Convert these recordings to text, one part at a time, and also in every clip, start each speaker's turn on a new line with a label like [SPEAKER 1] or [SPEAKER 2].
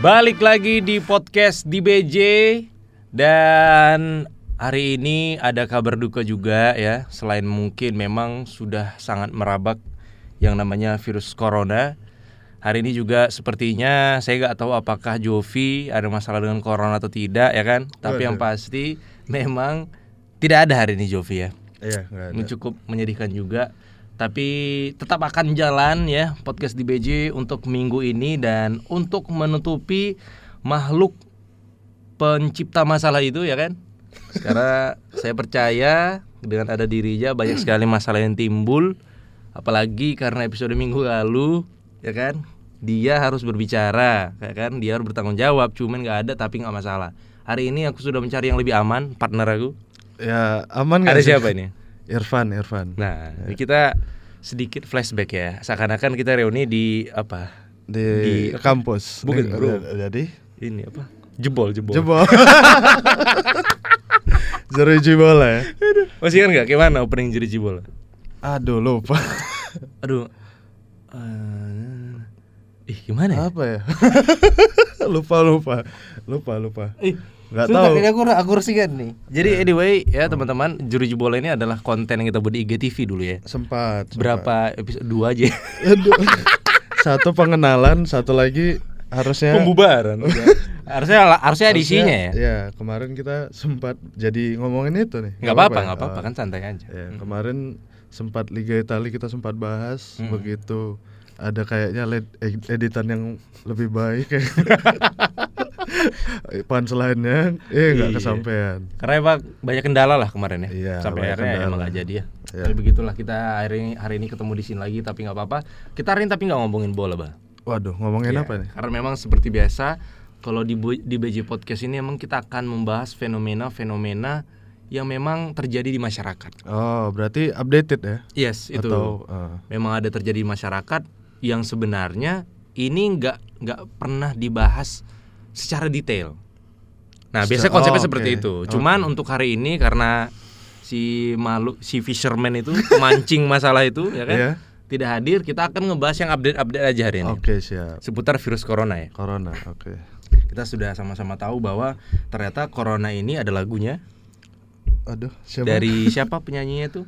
[SPEAKER 1] Balik lagi di podcast di BJ dan hari ini ada kabar duka juga ya. Selain mungkin memang sudah sangat merabak yang namanya virus corona. Hari ini juga sepertinya saya nggak tahu apakah Jovi ada masalah dengan corona atau tidak ya kan. Tapi yang pasti memang tidak ada hari ini Jovi ya.
[SPEAKER 2] Iya, nggak ada.
[SPEAKER 1] Ini cukup menyedihkan juga. Tapi tetap akan jalan ya podcast di BJ untuk minggu ini dan untuk menutupi makhluk pencipta masalah itu ya kan. Karena saya percaya dengan ada dirinya banyak sekali masalah yang timbul apalagi karena episode minggu lalu ya kan dia harus berbicara ya kan dia harus bertanggung jawab cuman nggak ada tapi nggak masalah hari ini aku sudah mencari yang lebih aman partner aku
[SPEAKER 2] Ya, aman nggak
[SPEAKER 1] ada
[SPEAKER 2] sih?
[SPEAKER 1] siapa ini
[SPEAKER 2] Irfan, Irfan.
[SPEAKER 1] Nah, ini kita sedikit flashback ya. Seakan-akan kita reuni di apa?
[SPEAKER 2] di,
[SPEAKER 1] di-
[SPEAKER 2] kampus.
[SPEAKER 1] Bukan,
[SPEAKER 2] Di-
[SPEAKER 1] bro.
[SPEAKER 2] Jadi,
[SPEAKER 1] Ini apa? Jebol, jebol.
[SPEAKER 2] jebol. Jari jebol ya.
[SPEAKER 1] Masih kan nggak? Gimana opening jadi jebol?
[SPEAKER 2] Aduh, lupa.
[SPEAKER 1] Aduh. Eh, ih, gimana ya?
[SPEAKER 2] Apa ya? lupa, lupa. Lupa, lupa. Nggak
[SPEAKER 1] Sumpah,
[SPEAKER 2] tahu.
[SPEAKER 1] ini aku aku kan nih. Jadi anyway ya teman-teman, juru jebol ini adalah konten yang kita buat di IGTV dulu ya.
[SPEAKER 2] Sempat. sempat.
[SPEAKER 1] Berapa episode? Dua aja.
[SPEAKER 2] Aduh. satu pengenalan, satu lagi harusnya
[SPEAKER 1] Pembubaran. harusnya harusnya edisinya ya.
[SPEAKER 2] Ya, kemarin kita sempat jadi ngomongin itu nih.
[SPEAKER 1] Nggak apa-apa, nggak
[SPEAKER 2] ya?
[SPEAKER 1] apa-apa kan santai aja.
[SPEAKER 2] Ya, kemarin sempat Liga Italia kita sempat bahas begitu ada kayaknya led- ed- editan yang lebih baik punchline-nya
[SPEAKER 1] Iya.
[SPEAKER 2] eh nggak kesampaian.
[SPEAKER 1] Karena emang banyak kendala lah kemarin ya.
[SPEAKER 2] Iya,
[SPEAKER 1] Sampai
[SPEAKER 2] banyak
[SPEAKER 1] akhirnya
[SPEAKER 2] kendala.
[SPEAKER 1] emang gak jadi ya.
[SPEAKER 2] Iya.
[SPEAKER 1] Tapi begitulah kita hari ini, hari ini ketemu di sini lagi tapi nggak apa-apa. Kita hari ini tapi nggak ngomongin bola, Bang.
[SPEAKER 2] Waduh, ngomongin
[SPEAKER 1] Iya,
[SPEAKER 2] apa nih?
[SPEAKER 1] Karena memang seperti biasa kalau di Bu- di BJ Podcast ini emang kita akan membahas fenomena-fenomena yang memang terjadi di masyarakat.
[SPEAKER 2] Oh, berarti updated ya?
[SPEAKER 1] Yes, itu.
[SPEAKER 2] Atau eh,
[SPEAKER 1] Memang ada terjadi di masyarakat yang sebenarnya ini nggak nggak pernah dibahas secara detail. Nah,
[SPEAKER 2] Secara-
[SPEAKER 1] biasanya konsepnya
[SPEAKER 2] oh,
[SPEAKER 1] seperti
[SPEAKER 2] oke.
[SPEAKER 1] itu. Cuman untuk hari ini karena si malu si fisherman itu mancing masalah itu ya kan
[SPEAKER 2] Iya.
[SPEAKER 1] tidak hadir, kita akan ngebahas yang update-update aja hari ini.
[SPEAKER 2] Oke, siap.
[SPEAKER 1] Seputar virus corona ya.
[SPEAKER 2] Corona, oke.
[SPEAKER 1] Kita sudah sama-sama tahu bahwa ternyata corona ini ada lagunya
[SPEAKER 2] Aduh, siapa?
[SPEAKER 1] dari siapa penyanyinya itu?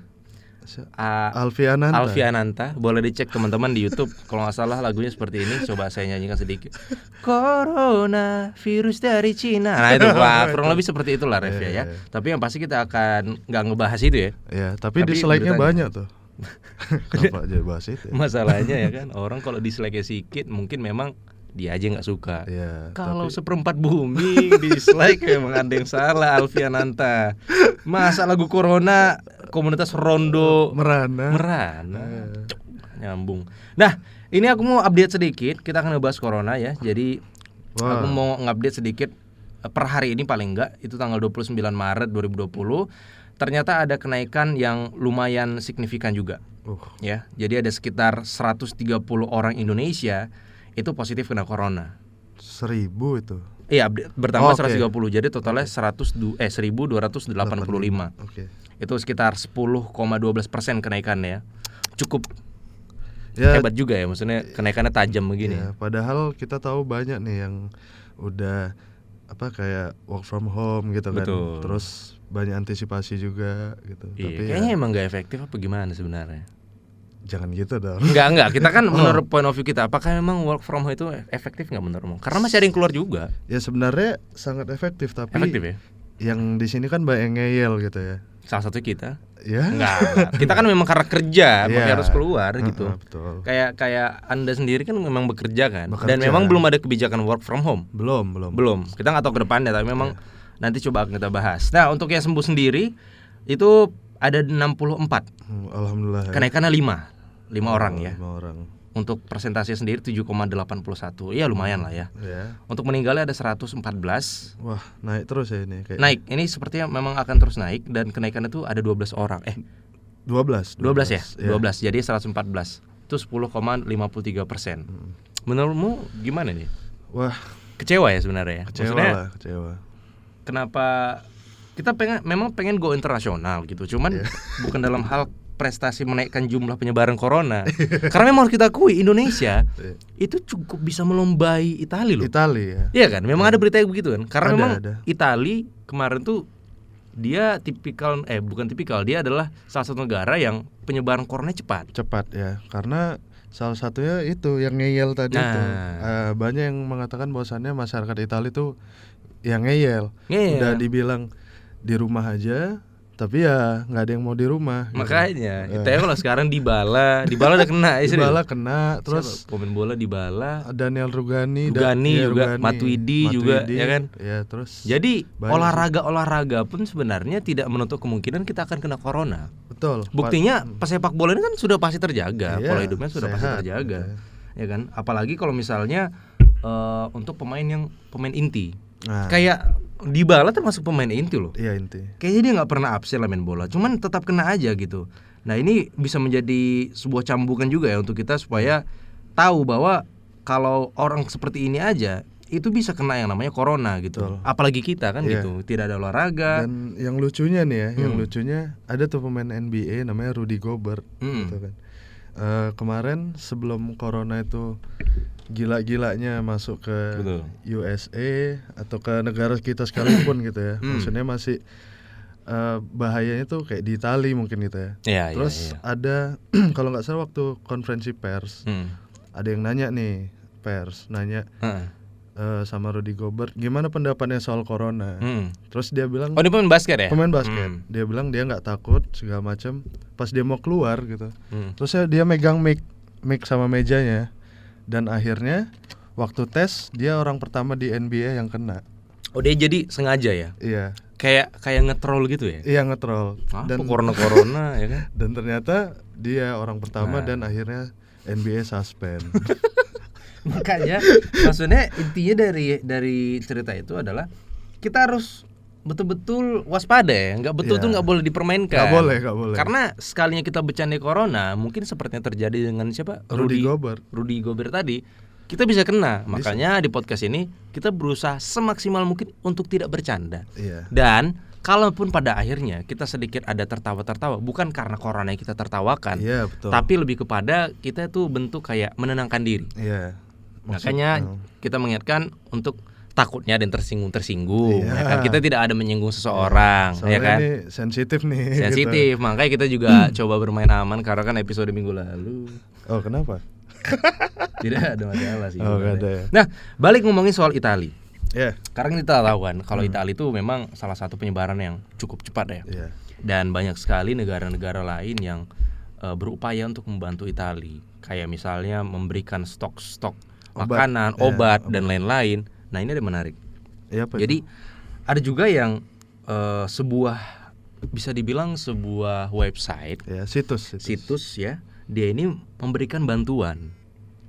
[SPEAKER 2] Si-
[SPEAKER 1] Ah,
[SPEAKER 2] Alfian Nanta.
[SPEAKER 1] Alfi Ananta boleh dicek teman-teman di YouTube kalau nggak salah lagunya seperti ini coba saya nyanyikan sedikit Corona virus dari Cina nah itu wah kurang lebih seperti itulah Rev ya,
[SPEAKER 2] Iya,
[SPEAKER 1] ya. tapi yang pasti kita akan nggak ngebahas itu ya
[SPEAKER 2] Ya, tapi,
[SPEAKER 1] Tapi
[SPEAKER 2] dislike-nya
[SPEAKER 1] beritanya.
[SPEAKER 2] banyak tuh. Kenapa aja bahas itu? ya?
[SPEAKER 1] masalahnya ya kan orang kalau dislike sedikit mungkin memang dia aja nggak suka
[SPEAKER 2] Iya.
[SPEAKER 1] kalau seperempat bumi dislike memang ada yang salah Alfiananta masa lagu Corona komunitas Rondo
[SPEAKER 2] Merana. Nah.
[SPEAKER 1] Merana. Cuk, Nyambung. Nah, ini aku mau update sedikit. Kita akan ngebahas corona ya. Jadi
[SPEAKER 2] Wah.
[SPEAKER 1] aku mau ngupdate sedikit eh, per hari ini paling enggak itu tanggal 29 Maret 2020. Ternyata ada kenaikan yang lumayan signifikan juga.
[SPEAKER 2] Uh.
[SPEAKER 1] Ya. Jadi ada sekitar 130 orang Indonesia itu positif kena corona.
[SPEAKER 2] seribu itu
[SPEAKER 1] Iya, update- bertambah
[SPEAKER 2] Oh, oke.
[SPEAKER 1] 130. Jadi totalnya 100 du- eh 1285.
[SPEAKER 2] oke
[SPEAKER 1] Itu sekitar 10,12% kenaikannya ya. Cukup
[SPEAKER 2] ya,
[SPEAKER 1] hebat juga ya maksudnya kenaikannya tajam begini
[SPEAKER 2] ya, padahal kita tahu banyak nih yang udah apa kayak work from home gitu kan
[SPEAKER 1] Betul.
[SPEAKER 2] terus banyak antisipasi juga gitu
[SPEAKER 1] Iya,
[SPEAKER 2] tapi ya,
[SPEAKER 1] kayaknya emang gak efektif apa gimana sebenarnya
[SPEAKER 2] jangan gitu dong
[SPEAKER 1] Enggak, enggak, kita kan
[SPEAKER 2] Oh.
[SPEAKER 1] menurut point of view kita Apakah memang work from home itu efektif nggak menurutmu? Karena masih ada yang keluar juga
[SPEAKER 2] ya sebenarnya sangat efektif tapi
[SPEAKER 1] Efektif ya?
[SPEAKER 2] yang di sini kan banyak yang ngeyel gitu ya
[SPEAKER 1] Salah satu kita
[SPEAKER 2] ya
[SPEAKER 1] Enggak, enggak. kita kan memang karena kerja Makanya
[SPEAKER 2] Iya.
[SPEAKER 1] harus keluar
[SPEAKER 2] Heeh,
[SPEAKER 1] gitu
[SPEAKER 2] betul
[SPEAKER 1] Kayak kayak anda sendiri kan memang bekerja kan Dan
[SPEAKER 2] Bekerja.
[SPEAKER 1] memang belum ada kebijakan work from home
[SPEAKER 2] belum belum
[SPEAKER 1] Belum, kita nggak tahu ke depannya tapi memang
[SPEAKER 2] Iya.
[SPEAKER 1] nanti coba akan kita bahas Nah untuk yang sembuh sendiri itu ada 64
[SPEAKER 2] Hmm, alhamdulillah ya.
[SPEAKER 1] Kenaikannya 5 5 Kan
[SPEAKER 2] Oh.
[SPEAKER 1] orang ya
[SPEAKER 2] Lima orang
[SPEAKER 1] Untuk presentasi sendiri 7,81 Ya lumayan lah ya
[SPEAKER 2] ya
[SPEAKER 1] Untuk meninggalnya ada 114
[SPEAKER 2] wah naik terus ya ini kayak
[SPEAKER 1] Naik, ini sepertinya memang akan terus naik Dan kenaikan itu ada 12 orang Eh
[SPEAKER 2] 12
[SPEAKER 1] 12 ya? 12, jadi 114 Itu 10,53 persen Menurutmu gimana nih?
[SPEAKER 2] wah
[SPEAKER 1] Kecewa ya sebenarnya ya?
[SPEAKER 2] kecewa
[SPEAKER 1] Maksudnya
[SPEAKER 2] lah kecewa Iya.
[SPEAKER 1] kenapa Kita pengen, memang pengen go internasional gitu Cuman bukan dalam hal prestasi menaikkan jumlah penyebaran corona.
[SPEAKER 2] Iya.
[SPEAKER 1] Karena memang harus kita akui Indonesia itu cukup bisa melombai Italia loh.
[SPEAKER 2] Itali ya.
[SPEAKER 1] Iya kan? Memang ada berita yang begitu kan? Karena
[SPEAKER 2] Ada,
[SPEAKER 1] memang
[SPEAKER 2] ada.
[SPEAKER 1] Itali kemarin tuh dia tipikal eh bukan tipikal, dia adalah salah satu negara yang penyebaran corona cepat.
[SPEAKER 2] Cepat ya. Karena salah satunya itu yang ngeyel tadi
[SPEAKER 1] Nah.
[SPEAKER 2] itu. Eh, banyak yang mengatakan bahwasannya masyarakat Itali itu yang ngeyel.
[SPEAKER 1] Iya.
[SPEAKER 2] Udah dibilang di rumah aja, tapi ya nggak ada yang mau di rumah. gitu.
[SPEAKER 1] Makanya,
[SPEAKER 2] Eh.
[SPEAKER 1] ITB kalau sekarang Dibala, Dibala udah kena ya serius.
[SPEAKER 2] Dybala kena, terus
[SPEAKER 1] Siapa? pemain bola Dibala.
[SPEAKER 2] Daniel Rugani,
[SPEAKER 1] Rugani
[SPEAKER 2] iya,
[SPEAKER 1] juga, Matuidi juga, ya kan?
[SPEAKER 2] Iya, terus
[SPEAKER 1] Jadi
[SPEAKER 2] Banyak.
[SPEAKER 1] olahraga-olahraga pun sebenarnya tidak menutup kemungkinan kita akan kena corona.
[SPEAKER 2] betul.
[SPEAKER 1] Buktinya pesepak bola ini kan sudah pasti terjaga,
[SPEAKER 2] Iya,
[SPEAKER 1] pola hidupnya sudah pasti
[SPEAKER 2] sehat,
[SPEAKER 1] terjaga.
[SPEAKER 2] gitu
[SPEAKER 1] Ya kan? Apalagi kalau misalnya eh, untuk pemain yang pemain inti.
[SPEAKER 2] Nah,
[SPEAKER 1] Kayak Dybala termasuk pemain inti loh.
[SPEAKER 2] iya inti.
[SPEAKER 1] Kayaknya dia nggak pernah absen lah main bola, cuman tetap kena aja gitu. Nah ini bisa menjadi sebuah cambukan juga ya untuk kita supaya tahu bahwa kalau orang seperti ini aja itu bisa kena yang namanya corona gitu.
[SPEAKER 2] Betul.
[SPEAKER 1] Apalagi kita kan
[SPEAKER 2] Iya.
[SPEAKER 1] gitu, tidak ada olahraga.
[SPEAKER 2] Dan yang lucunya nih ya, yang
[SPEAKER 1] Hmm.
[SPEAKER 2] lucunya ada tuh pemain NBA namanya Rudy Gobert
[SPEAKER 1] Hmm.
[SPEAKER 2] gitu kan. Eh, kemarin sebelum corona itu gila-gilanya masuk ke
[SPEAKER 1] Betul.
[SPEAKER 2] USA atau ke negara kita sekalipun gitu ya.
[SPEAKER 1] Hmm.
[SPEAKER 2] Maksudnya masih eh, bahayanya tuh kayak di Itali mungkin gitu ya.
[SPEAKER 1] Iya, iya,
[SPEAKER 2] Terus
[SPEAKER 1] iya.
[SPEAKER 2] ada kalau nggak salah waktu konferensi pers
[SPEAKER 1] Hmm.
[SPEAKER 2] ada yang nanya nih pers nanya
[SPEAKER 1] Heeh.
[SPEAKER 2] eh, sama Rudy Gobert gimana pendapatnya soal corona.
[SPEAKER 1] Hmm.
[SPEAKER 2] Terus dia bilang
[SPEAKER 1] Oh dia pemain basket ya?
[SPEAKER 2] pemain basket
[SPEAKER 1] Hmm.
[SPEAKER 2] dia bilang dia nggak takut segala macam pas dia mau keluar gitu
[SPEAKER 1] Hmm.
[SPEAKER 2] terus ya dia megang mic mic sama mejanya dan akhirnya waktu tes dia orang pertama di NBA yang kena
[SPEAKER 1] Oh dia jadi sengaja ya?
[SPEAKER 2] iya
[SPEAKER 1] Kayak kayak ngetrol gitu ya?
[SPEAKER 2] iya ngetrol
[SPEAKER 1] Ah,
[SPEAKER 2] dan
[SPEAKER 1] corona corona ya kan?
[SPEAKER 2] dan ternyata dia orang pertama
[SPEAKER 1] Nah.
[SPEAKER 2] dan akhirnya NBA suspend
[SPEAKER 1] makanya maksudnya intinya dari dari cerita itu adalah kita harus betul-betul waspada ya nggak betul
[SPEAKER 2] Iya.
[SPEAKER 1] tuh nggak boleh dipermainkan
[SPEAKER 2] Nggak boleh, nggak boleh.
[SPEAKER 1] karena sekalinya kita bercanda corona mungkin seperti yang terjadi dengan siapa
[SPEAKER 2] Rudy Gobert
[SPEAKER 1] Rudy Gobert tadi kita bisa kena makanya di podcast ini kita berusaha semaksimal mungkin untuk tidak bercanda
[SPEAKER 2] iya
[SPEAKER 1] dan kalaupun pada akhirnya kita sedikit ada tertawa-tertawa bukan karena corona yang kita tertawakan
[SPEAKER 2] iya betul
[SPEAKER 1] tapi lebih kepada kita tuh bentuk kayak menenangkan diri
[SPEAKER 2] iya Maksud-
[SPEAKER 1] Makanya
[SPEAKER 2] oh,
[SPEAKER 1] kita mengingatkan untuk takutnya ada yang tersinggung-tersinggung. ya
[SPEAKER 2] Iya.
[SPEAKER 1] kan? Kita tidak ada menyinggung seseorang, ya
[SPEAKER 2] soalnya
[SPEAKER 1] kan?
[SPEAKER 2] ini sensitif nih gitu. Hmm.
[SPEAKER 1] Sensitif, makanya kita juga coba bermain aman karena kan episode minggu lalu
[SPEAKER 2] oh kenapa
[SPEAKER 1] tidak ada masalah sih.
[SPEAKER 2] Oh, nggak ada ya.
[SPEAKER 1] Nah, balik ngomongin soal Itali.
[SPEAKER 2] ya
[SPEAKER 1] Karena kita tahu kan kalau Itali itu memang salah satu penyebaran yang cukup cepat ya.
[SPEAKER 2] Hmm. iya
[SPEAKER 1] Dan banyak sekali negara-negara lain yang eh, berupaya untuk membantu Itali. Kayak misalnya memberikan stok-stok
[SPEAKER 2] Obat.
[SPEAKER 1] makanan,
[SPEAKER 2] Iya,
[SPEAKER 1] obat dan lain-lain. Nah, ini ada yang menarik.
[SPEAKER 2] iya apa
[SPEAKER 1] Jadi ada juga yang eh, sebuah bisa dibilang sebuah website
[SPEAKER 2] Ya, situs, situs.
[SPEAKER 1] situs ya dia ini memberikan bantuan.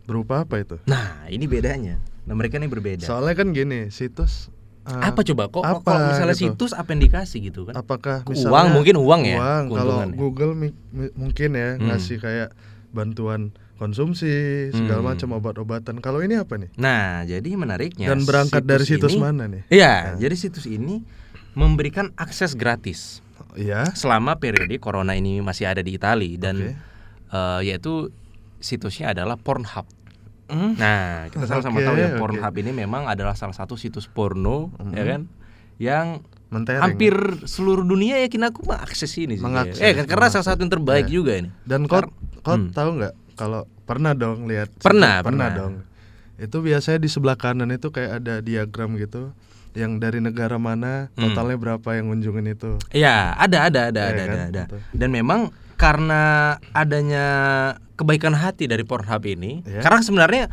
[SPEAKER 2] Berupa apa itu?
[SPEAKER 1] Nah ini bedanya. Nah mereka ini berbeda.
[SPEAKER 2] Soalnya kan gini, situs eh,
[SPEAKER 1] apa coba kok
[SPEAKER 2] apa
[SPEAKER 1] kalau misalnya
[SPEAKER 2] gitu?
[SPEAKER 1] situs apa yang dikasih gitu kan?
[SPEAKER 2] apakah
[SPEAKER 1] Uang,
[SPEAKER 2] misalnya
[SPEAKER 1] mungkin uang ya,
[SPEAKER 2] Uang. Kalau
[SPEAKER 1] keuntungannya.
[SPEAKER 2] Google mi- mi- mungkin ya
[SPEAKER 1] Hmm.
[SPEAKER 2] ngasih kayak bantuan konsumsi segala
[SPEAKER 1] Hmm.
[SPEAKER 2] macam obat-obatan. Kalau ini apa nih?
[SPEAKER 1] Nah jadi menariknya
[SPEAKER 2] Dan berangkat dari situs
[SPEAKER 1] ini-
[SPEAKER 2] mana Nah. nih?
[SPEAKER 1] Iya jadi situs ini memberikan akses gratis
[SPEAKER 2] Iya.
[SPEAKER 1] selama periode corona ini masih ada di Itali dan eh, yaitu situsnya adalah Pornhub.
[SPEAKER 2] Hmm.
[SPEAKER 1] Nah, kita sama-sama
[SPEAKER 2] Oke,
[SPEAKER 1] tahu ya
[SPEAKER 2] oke. Hmm.
[SPEAKER 1] Pornhub ini memang adalah salah satu situs porno ya kan yang
[SPEAKER 2] Mentereng.
[SPEAKER 1] hampir seluruh dunia ya, yakin aku mengakses ini sih.
[SPEAKER 2] Mengakses,
[SPEAKER 1] Eh, kan karena salah satu yang terbaik
[SPEAKER 2] Iya.
[SPEAKER 1] juga ini.
[SPEAKER 2] Dan kau kau
[SPEAKER 1] Hmm.
[SPEAKER 2] tahu nggak kalau pernah dong lihat situs?
[SPEAKER 1] Pernah, pernah.
[SPEAKER 2] pernah dong. Itu biasanya di sebelah kanan itu kayak ada diagram gitu yang dari negara mana,
[SPEAKER 1] Hmm.
[SPEAKER 2] totalnya berapa yang kunjungan itu.
[SPEAKER 1] Iya, ada ada ada
[SPEAKER 2] Iya
[SPEAKER 1] ada
[SPEAKER 2] kan?
[SPEAKER 1] ada, ada.
[SPEAKER 2] Betul.
[SPEAKER 1] Dan memang karena adanya kebaikan hati dari Pornhub ini,
[SPEAKER 2] Iya.
[SPEAKER 1] karena sebenarnya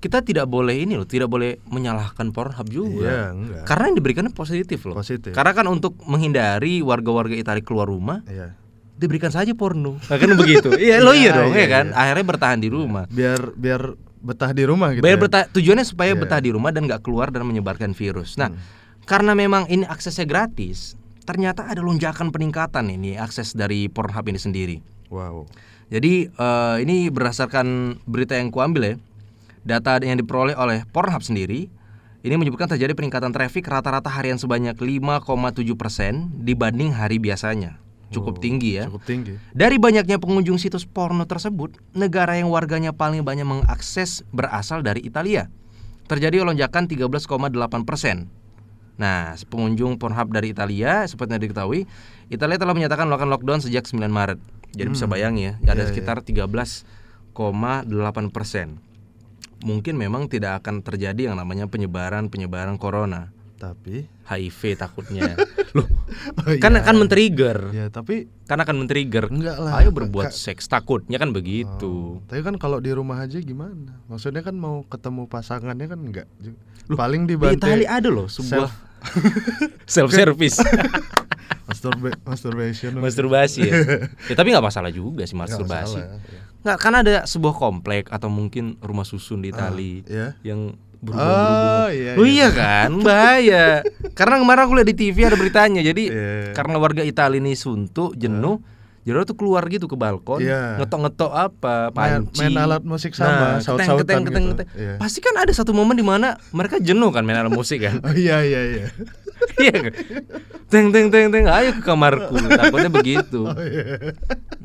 [SPEAKER 1] kita tidak boleh ini loh, tidak boleh menyalahkan Pornhub juga.
[SPEAKER 2] Iya, enggak.
[SPEAKER 1] Karena yang diberikannya positif loh.
[SPEAKER 2] Positif.
[SPEAKER 1] Karena kan untuk menghindari warga-warga Italia keluar rumah,
[SPEAKER 2] Iya.
[SPEAKER 1] diberikan saja porno. Nah, kan begitu. Iya, lo iya
[SPEAKER 2] Iya,
[SPEAKER 1] dong,
[SPEAKER 2] iya,
[SPEAKER 1] ya kan? Akhirnya bertahan di rumah.
[SPEAKER 2] biar biar betah di rumah gitu.
[SPEAKER 1] Biar
[SPEAKER 2] ya?
[SPEAKER 1] berta- tujuannya supaya betah di rumah dan nggak keluar dan menyebarkan virus. Nah,
[SPEAKER 2] Hmm.
[SPEAKER 1] karena memang ini aksesnya gratis, ternyata ada lonjakan peningkatan ini akses dari Pornhub ini sendiri.
[SPEAKER 2] Wow.
[SPEAKER 1] Jadi eh, ini berdasarkan berita yang kuambil ya, data yang diperoleh oleh Pornhub sendiri, ini menyebutkan terjadi peningkatan traffic rata-rata harian sebanyak 5,7 persen dibanding hari biasanya. cukup tinggi ya.
[SPEAKER 2] cukup tinggi
[SPEAKER 1] Dari banyaknya pengunjung situs porno tersebut, negara yang warganya paling banyak mengakses berasal dari Italia. Terjadi lonjakan 13,8 persen. Nah, pengunjung Pornhub dari Italia, seperti yang diketahui, Italia telah menyatakan melakukan lockdown sejak 9 Maret. Jadi bisa bayangin ya, ada
[SPEAKER 2] Iya, iya.
[SPEAKER 1] sekitar 13,8 persen. Mungkin memang tidak akan terjadi yang namanya penyebaran-penyebaran corona.
[SPEAKER 2] tapi
[SPEAKER 1] HIV takutnya. Loh,
[SPEAKER 2] Oh,
[SPEAKER 1] kan
[SPEAKER 2] iya.
[SPEAKER 1] akan men-trigger.
[SPEAKER 2] ya tapi
[SPEAKER 1] Karena akan men-trigger.
[SPEAKER 2] enggak lah
[SPEAKER 1] Ayo berbuat
[SPEAKER 2] Ka-
[SPEAKER 1] seks takutnya kan begitu.
[SPEAKER 2] tapi kan kalau di rumah aja gimana maksudnya kan mau ketemu pasangannya kan enggak ju- paling dibantu
[SPEAKER 1] Di Itali ada loh sebuah self service
[SPEAKER 2] masturba- masturbation
[SPEAKER 1] masturbasi ya. Ya, tapi nggak masalah juga sih
[SPEAKER 2] Enggak
[SPEAKER 1] masturbasi. Iya.
[SPEAKER 2] masalah, ya.
[SPEAKER 1] Nggak karena ada sebuah komplek atau mungkin rumah susun di Itali
[SPEAKER 2] ya.
[SPEAKER 1] yang
[SPEAKER 2] oh
[SPEAKER 1] berhubung
[SPEAKER 2] iya,
[SPEAKER 1] Oh iya kan bahaya karena kemarin aku lihat di TV ada beritanya jadi
[SPEAKER 2] Iya.
[SPEAKER 1] karena warga Italia ini suntuk jenuh jadi orang tuh keluar gitu ke balkon
[SPEAKER 2] Iya.
[SPEAKER 1] ngetok-ngetok apa
[SPEAKER 2] Main-
[SPEAKER 1] panci
[SPEAKER 2] main alat musik sama, saut-sautan
[SPEAKER 1] keteng, keteng,
[SPEAKER 2] gitu.
[SPEAKER 1] keteng.
[SPEAKER 2] Iya.
[SPEAKER 1] pasti kan ada satu momen di mana mereka jenuh kan main alat musik kan
[SPEAKER 2] Oh iya iya iya.
[SPEAKER 1] Iya kan? Teng teng teng teng ayo ke kamarku. Takutnya begitu.
[SPEAKER 2] Oh,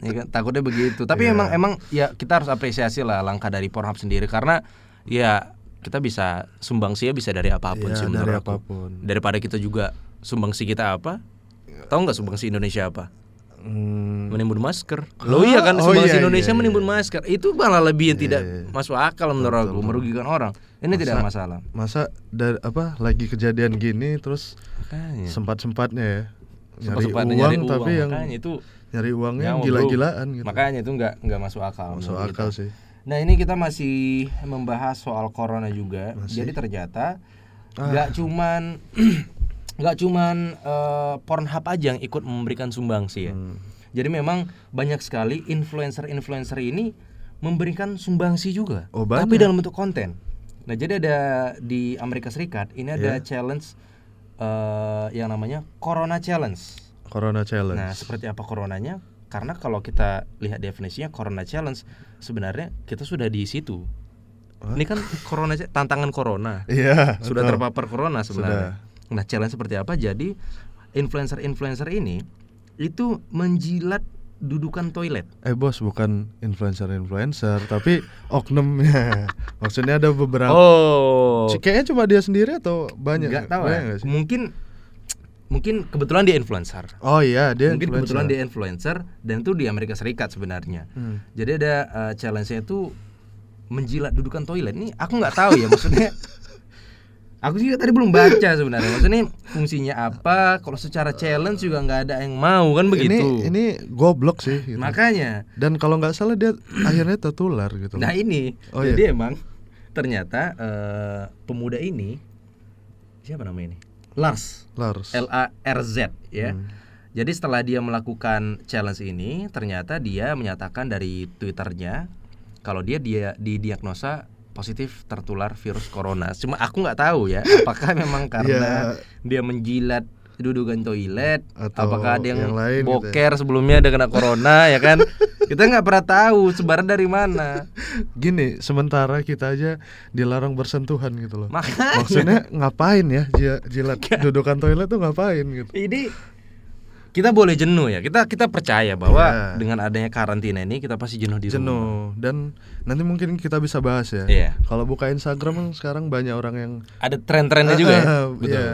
[SPEAKER 1] Iya kan? Takutnya begitu.
[SPEAKER 2] Iya.
[SPEAKER 1] Tapi emang emang ya kita harus apresiasi lah langkah dari Pornhub sendiri karena ya kita bisa sumbangsinya bisa dari apapun
[SPEAKER 2] Iya,
[SPEAKER 1] sih
[SPEAKER 2] dari
[SPEAKER 1] menurut aku.
[SPEAKER 2] apapun.
[SPEAKER 1] Daripada kita juga sumbangsi kita apa? Tahu nggak sumbangsi Indonesia apa?
[SPEAKER 2] Hmm,
[SPEAKER 1] Menimbun masker. Loh iya kan
[SPEAKER 2] Oh,
[SPEAKER 1] sumbangsi
[SPEAKER 2] iya,
[SPEAKER 1] Indonesia
[SPEAKER 2] iya,
[SPEAKER 1] menimbun masker. Itu malah lebih yang tidak
[SPEAKER 2] Iya, iya.
[SPEAKER 1] masuk akal menurut aku, merugikan orang. Ini tidak ada masalah.
[SPEAKER 2] masa dari apa lagi kejadian gini terus
[SPEAKER 1] Makanya.
[SPEAKER 2] sempat-sempatnya ya. Nyari
[SPEAKER 1] Iya. Sempat-sempatnya
[SPEAKER 2] uang
[SPEAKER 1] nyari
[SPEAKER 2] tapi yang
[SPEAKER 1] makanya itu
[SPEAKER 2] nyari uangnya yang
[SPEAKER 1] Nyawa, bro.
[SPEAKER 2] gila-gilaan gitu.
[SPEAKER 1] Makanya itu nggak nggak masuk akal.
[SPEAKER 2] Masuk
[SPEAKER 1] menurut
[SPEAKER 2] akal
[SPEAKER 1] kita.
[SPEAKER 2] sih.
[SPEAKER 1] Nah ini kita masih membahas soal corona juga. Jadi ternyata
[SPEAKER 2] Ah.
[SPEAKER 1] nggak cuman nggak cuman eh, Pornhub aja yang ikut memberikan sumbangsi ya.
[SPEAKER 2] Hmm.
[SPEAKER 1] Jadi memang banyak sekali influencer-influencer ini memberikan sumbangsi juga,
[SPEAKER 2] Oh, banyak.
[SPEAKER 1] tapi dalam bentuk konten. Nah jadi ada di Amerika Serikat ini ada
[SPEAKER 2] Ya.
[SPEAKER 1] challenge eh, yang namanya Corona Challenge.
[SPEAKER 2] Corona challenge.
[SPEAKER 1] Nah, seperti apa coronanya? Karena kalau kita lihat definisinya corona challenge, sebenarnya kita sudah di situ. Ini kan corona tantangan corona.
[SPEAKER 2] Iya.
[SPEAKER 1] Sudah
[SPEAKER 2] betul.
[SPEAKER 1] terpapar corona sebenarnya. Nah, challenge seperti apa? Jadi influencer-influencer ini itu menjilat dudukan toilet.
[SPEAKER 2] Eh bos bukan influencer-influencer tapi oknumnya. Maksudnya ada beberapa.
[SPEAKER 1] Oh.
[SPEAKER 2] Ci- Kayaknya cuma dia sendiri atau banyak?
[SPEAKER 1] Enggak tahu
[SPEAKER 2] Banyak
[SPEAKER 1] ya.
[SPEAKER 2] nggak sih?
[SPEAKER 1] Mungkin mungkin kebetulan dia influencer.
[SPEAKER 2] Oh iya dia
[SPEAKER 1] mungkin
[SPEAKER 2] influencer.
[SPEAKER 1] kebetulan dia influencer dan itu di Amerika Serikat sebenarnya.
[SPEAKER 2] Hmm.
[SPEAKER 1] Jadi ada eh, challenge-nya itu menjilat dudukan toilet. Nih aku nggak tahu ya maksudnya. Aku juga tadi belum baca sebenarnya. Maksudnya fungsinya apa? Kalau secara challenge juga nggak ada yang mau kan begitu. Nah.
[SPEAKER 2] Ini ini goblok sih gitu.
[SPEAKER 1] Makanya.
[SPEAKER 2] Dan kalau nggak salah dia akhirnya tertular gitu.
[SPEAKER 1] Nah ini.
[SPEAKER 2] Oh,
[SPEAKER 1] jadi emang ternyata eh, pemuda ini siapa namanya ini? Lars.
[SPEAKER 2] Lars.
[SPEAKER 1] L A R Z ya.
[SPEAKER 2] Hmm.
[SPEAKER 1] Jadi setelah dia melakukan challenge ini, ternyata dia menyatakan dari twitternya kalau dia dia didiagnosa positif tertular virus corona. Cuma aku nggak tahu ya, apakah memang karena dia menjilat dudukan toilet,
[SPEAKER 2] Ya. Atau
[SPEAKER 1] apakah ada yang,
[SPEAKER 2] yang lain gitu ya.
[SPEAKER 1] boker sebelumnya ada kena corona ya kan? Kita nggak pernah tahu sebaran dari mana.
[SPEAKER 2] Gini, sementara kita aja dilarang bersentuhan gitu loh.
[SPEAKER 1] Makanya
[SPEAKER 2] Maksudnya ngapain ya ji- jilat dudukan toilet tuh ngapain gitu.
[SPEAKER 1] Ini kita boleh jenuh ya. Kita kita percaya bahwa
[SPEAKER 2] Iya.
[SPEAKER 1] dengan adanya karantina ini kita pasti jenuh di rumah.
[SPEAKER 2] Jenuh dan nanti mungkin kita bisa bahas ya.
[SPEAKER 1] Gitu. Iya.
[SPEAKER 2] Kalau buka Instagram kan sekarang banyak orang yang
[SPEAKER 1] Ada tren-trennya juga ya. Nah,
[SPEAKER 2] Eh, iya.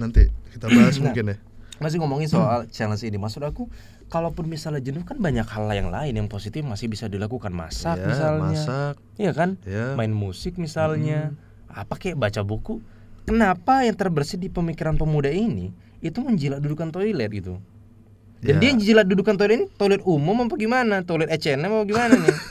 [SPEAKER 2] Nanti kita bahas mungkin ya.
[SPEAKER 1] Masih ngomongin soal challenge ini, maksud aku kalaupun misalnya jenuh kan banyak hal yang lain yang positif masih bisa dilakukan masak
[SPEAKER 2] Iya,
[SPEAKER 1] misalnya.
[SPEAKER 2] Masak.
[SPEAKER 1] Iya kan?
[SPEAKER 2] Iya.
[SPEAKER 1] Main musik misalnya. Apa kayak baca buku? Kenapa yang terbersih di pemikiran pemuda ini itu menjilat dudukan toilet gitu? Dan
[SPEAKER 2] Iya.
[SPEAKER 1] dia jilat dudukan toilet ini toilet umum apa gimana? Toilet H&M apa gimana nih?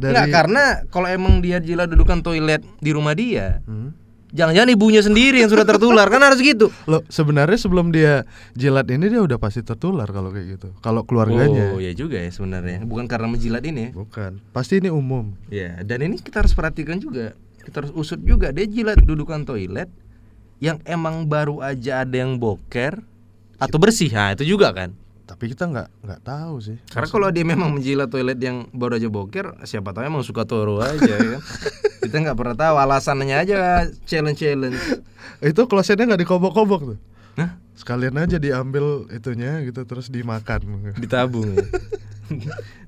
[SPEAKER 2] Dari-
[SPEAKER 1] Nggak, karena kalau emang dia jilat dudukan toilet di rumah dia,
[SPEAKER 2] Hmm.
[SPEAKER 1] jangan-jangan ibunya sendiri yang sudah tertular kan harus gitu.
[SPEAKER 2] Loh, sebenarnya sebelum dia jilat ini dia udah pasti tertular kalau kayak gitu.
[SPEAKER 1] Oh
[SPEAKER 2] Kalau keluarganya.
[SPEAKER 1] ya juga ya sebenarnya. Bukan karena menjilat ini.
[SPEAKER 2] Bukan. Pasti ini umum.
[SPEAKER 1] Ya, dan ini kita harus perhatikan juga. Kita harus usut juga dia jilat dudukan toilet yang emang baru aja ada yang boker atau bersih. Nah, itu juga kan.
[SPEAKER 2] Tapi kita nggak nggak tahu sih.
[SPEAKER 1] Karena kalau dia memang menjilat toilet yang baru aja boker, siapa tahu emang suka toro aja ya kan. Kita nggak pernah tahu alasannya aja challenge challenge.
[SPEAKER 2] Itu klosetnya nggak dikobok-kobok tuh.
[SPEAKER 1] Hah?
[SPEAKER 2] Sekalian aja diambil itunya gitu terus dimakan.
[SPEAKER 1] ditabung. ya?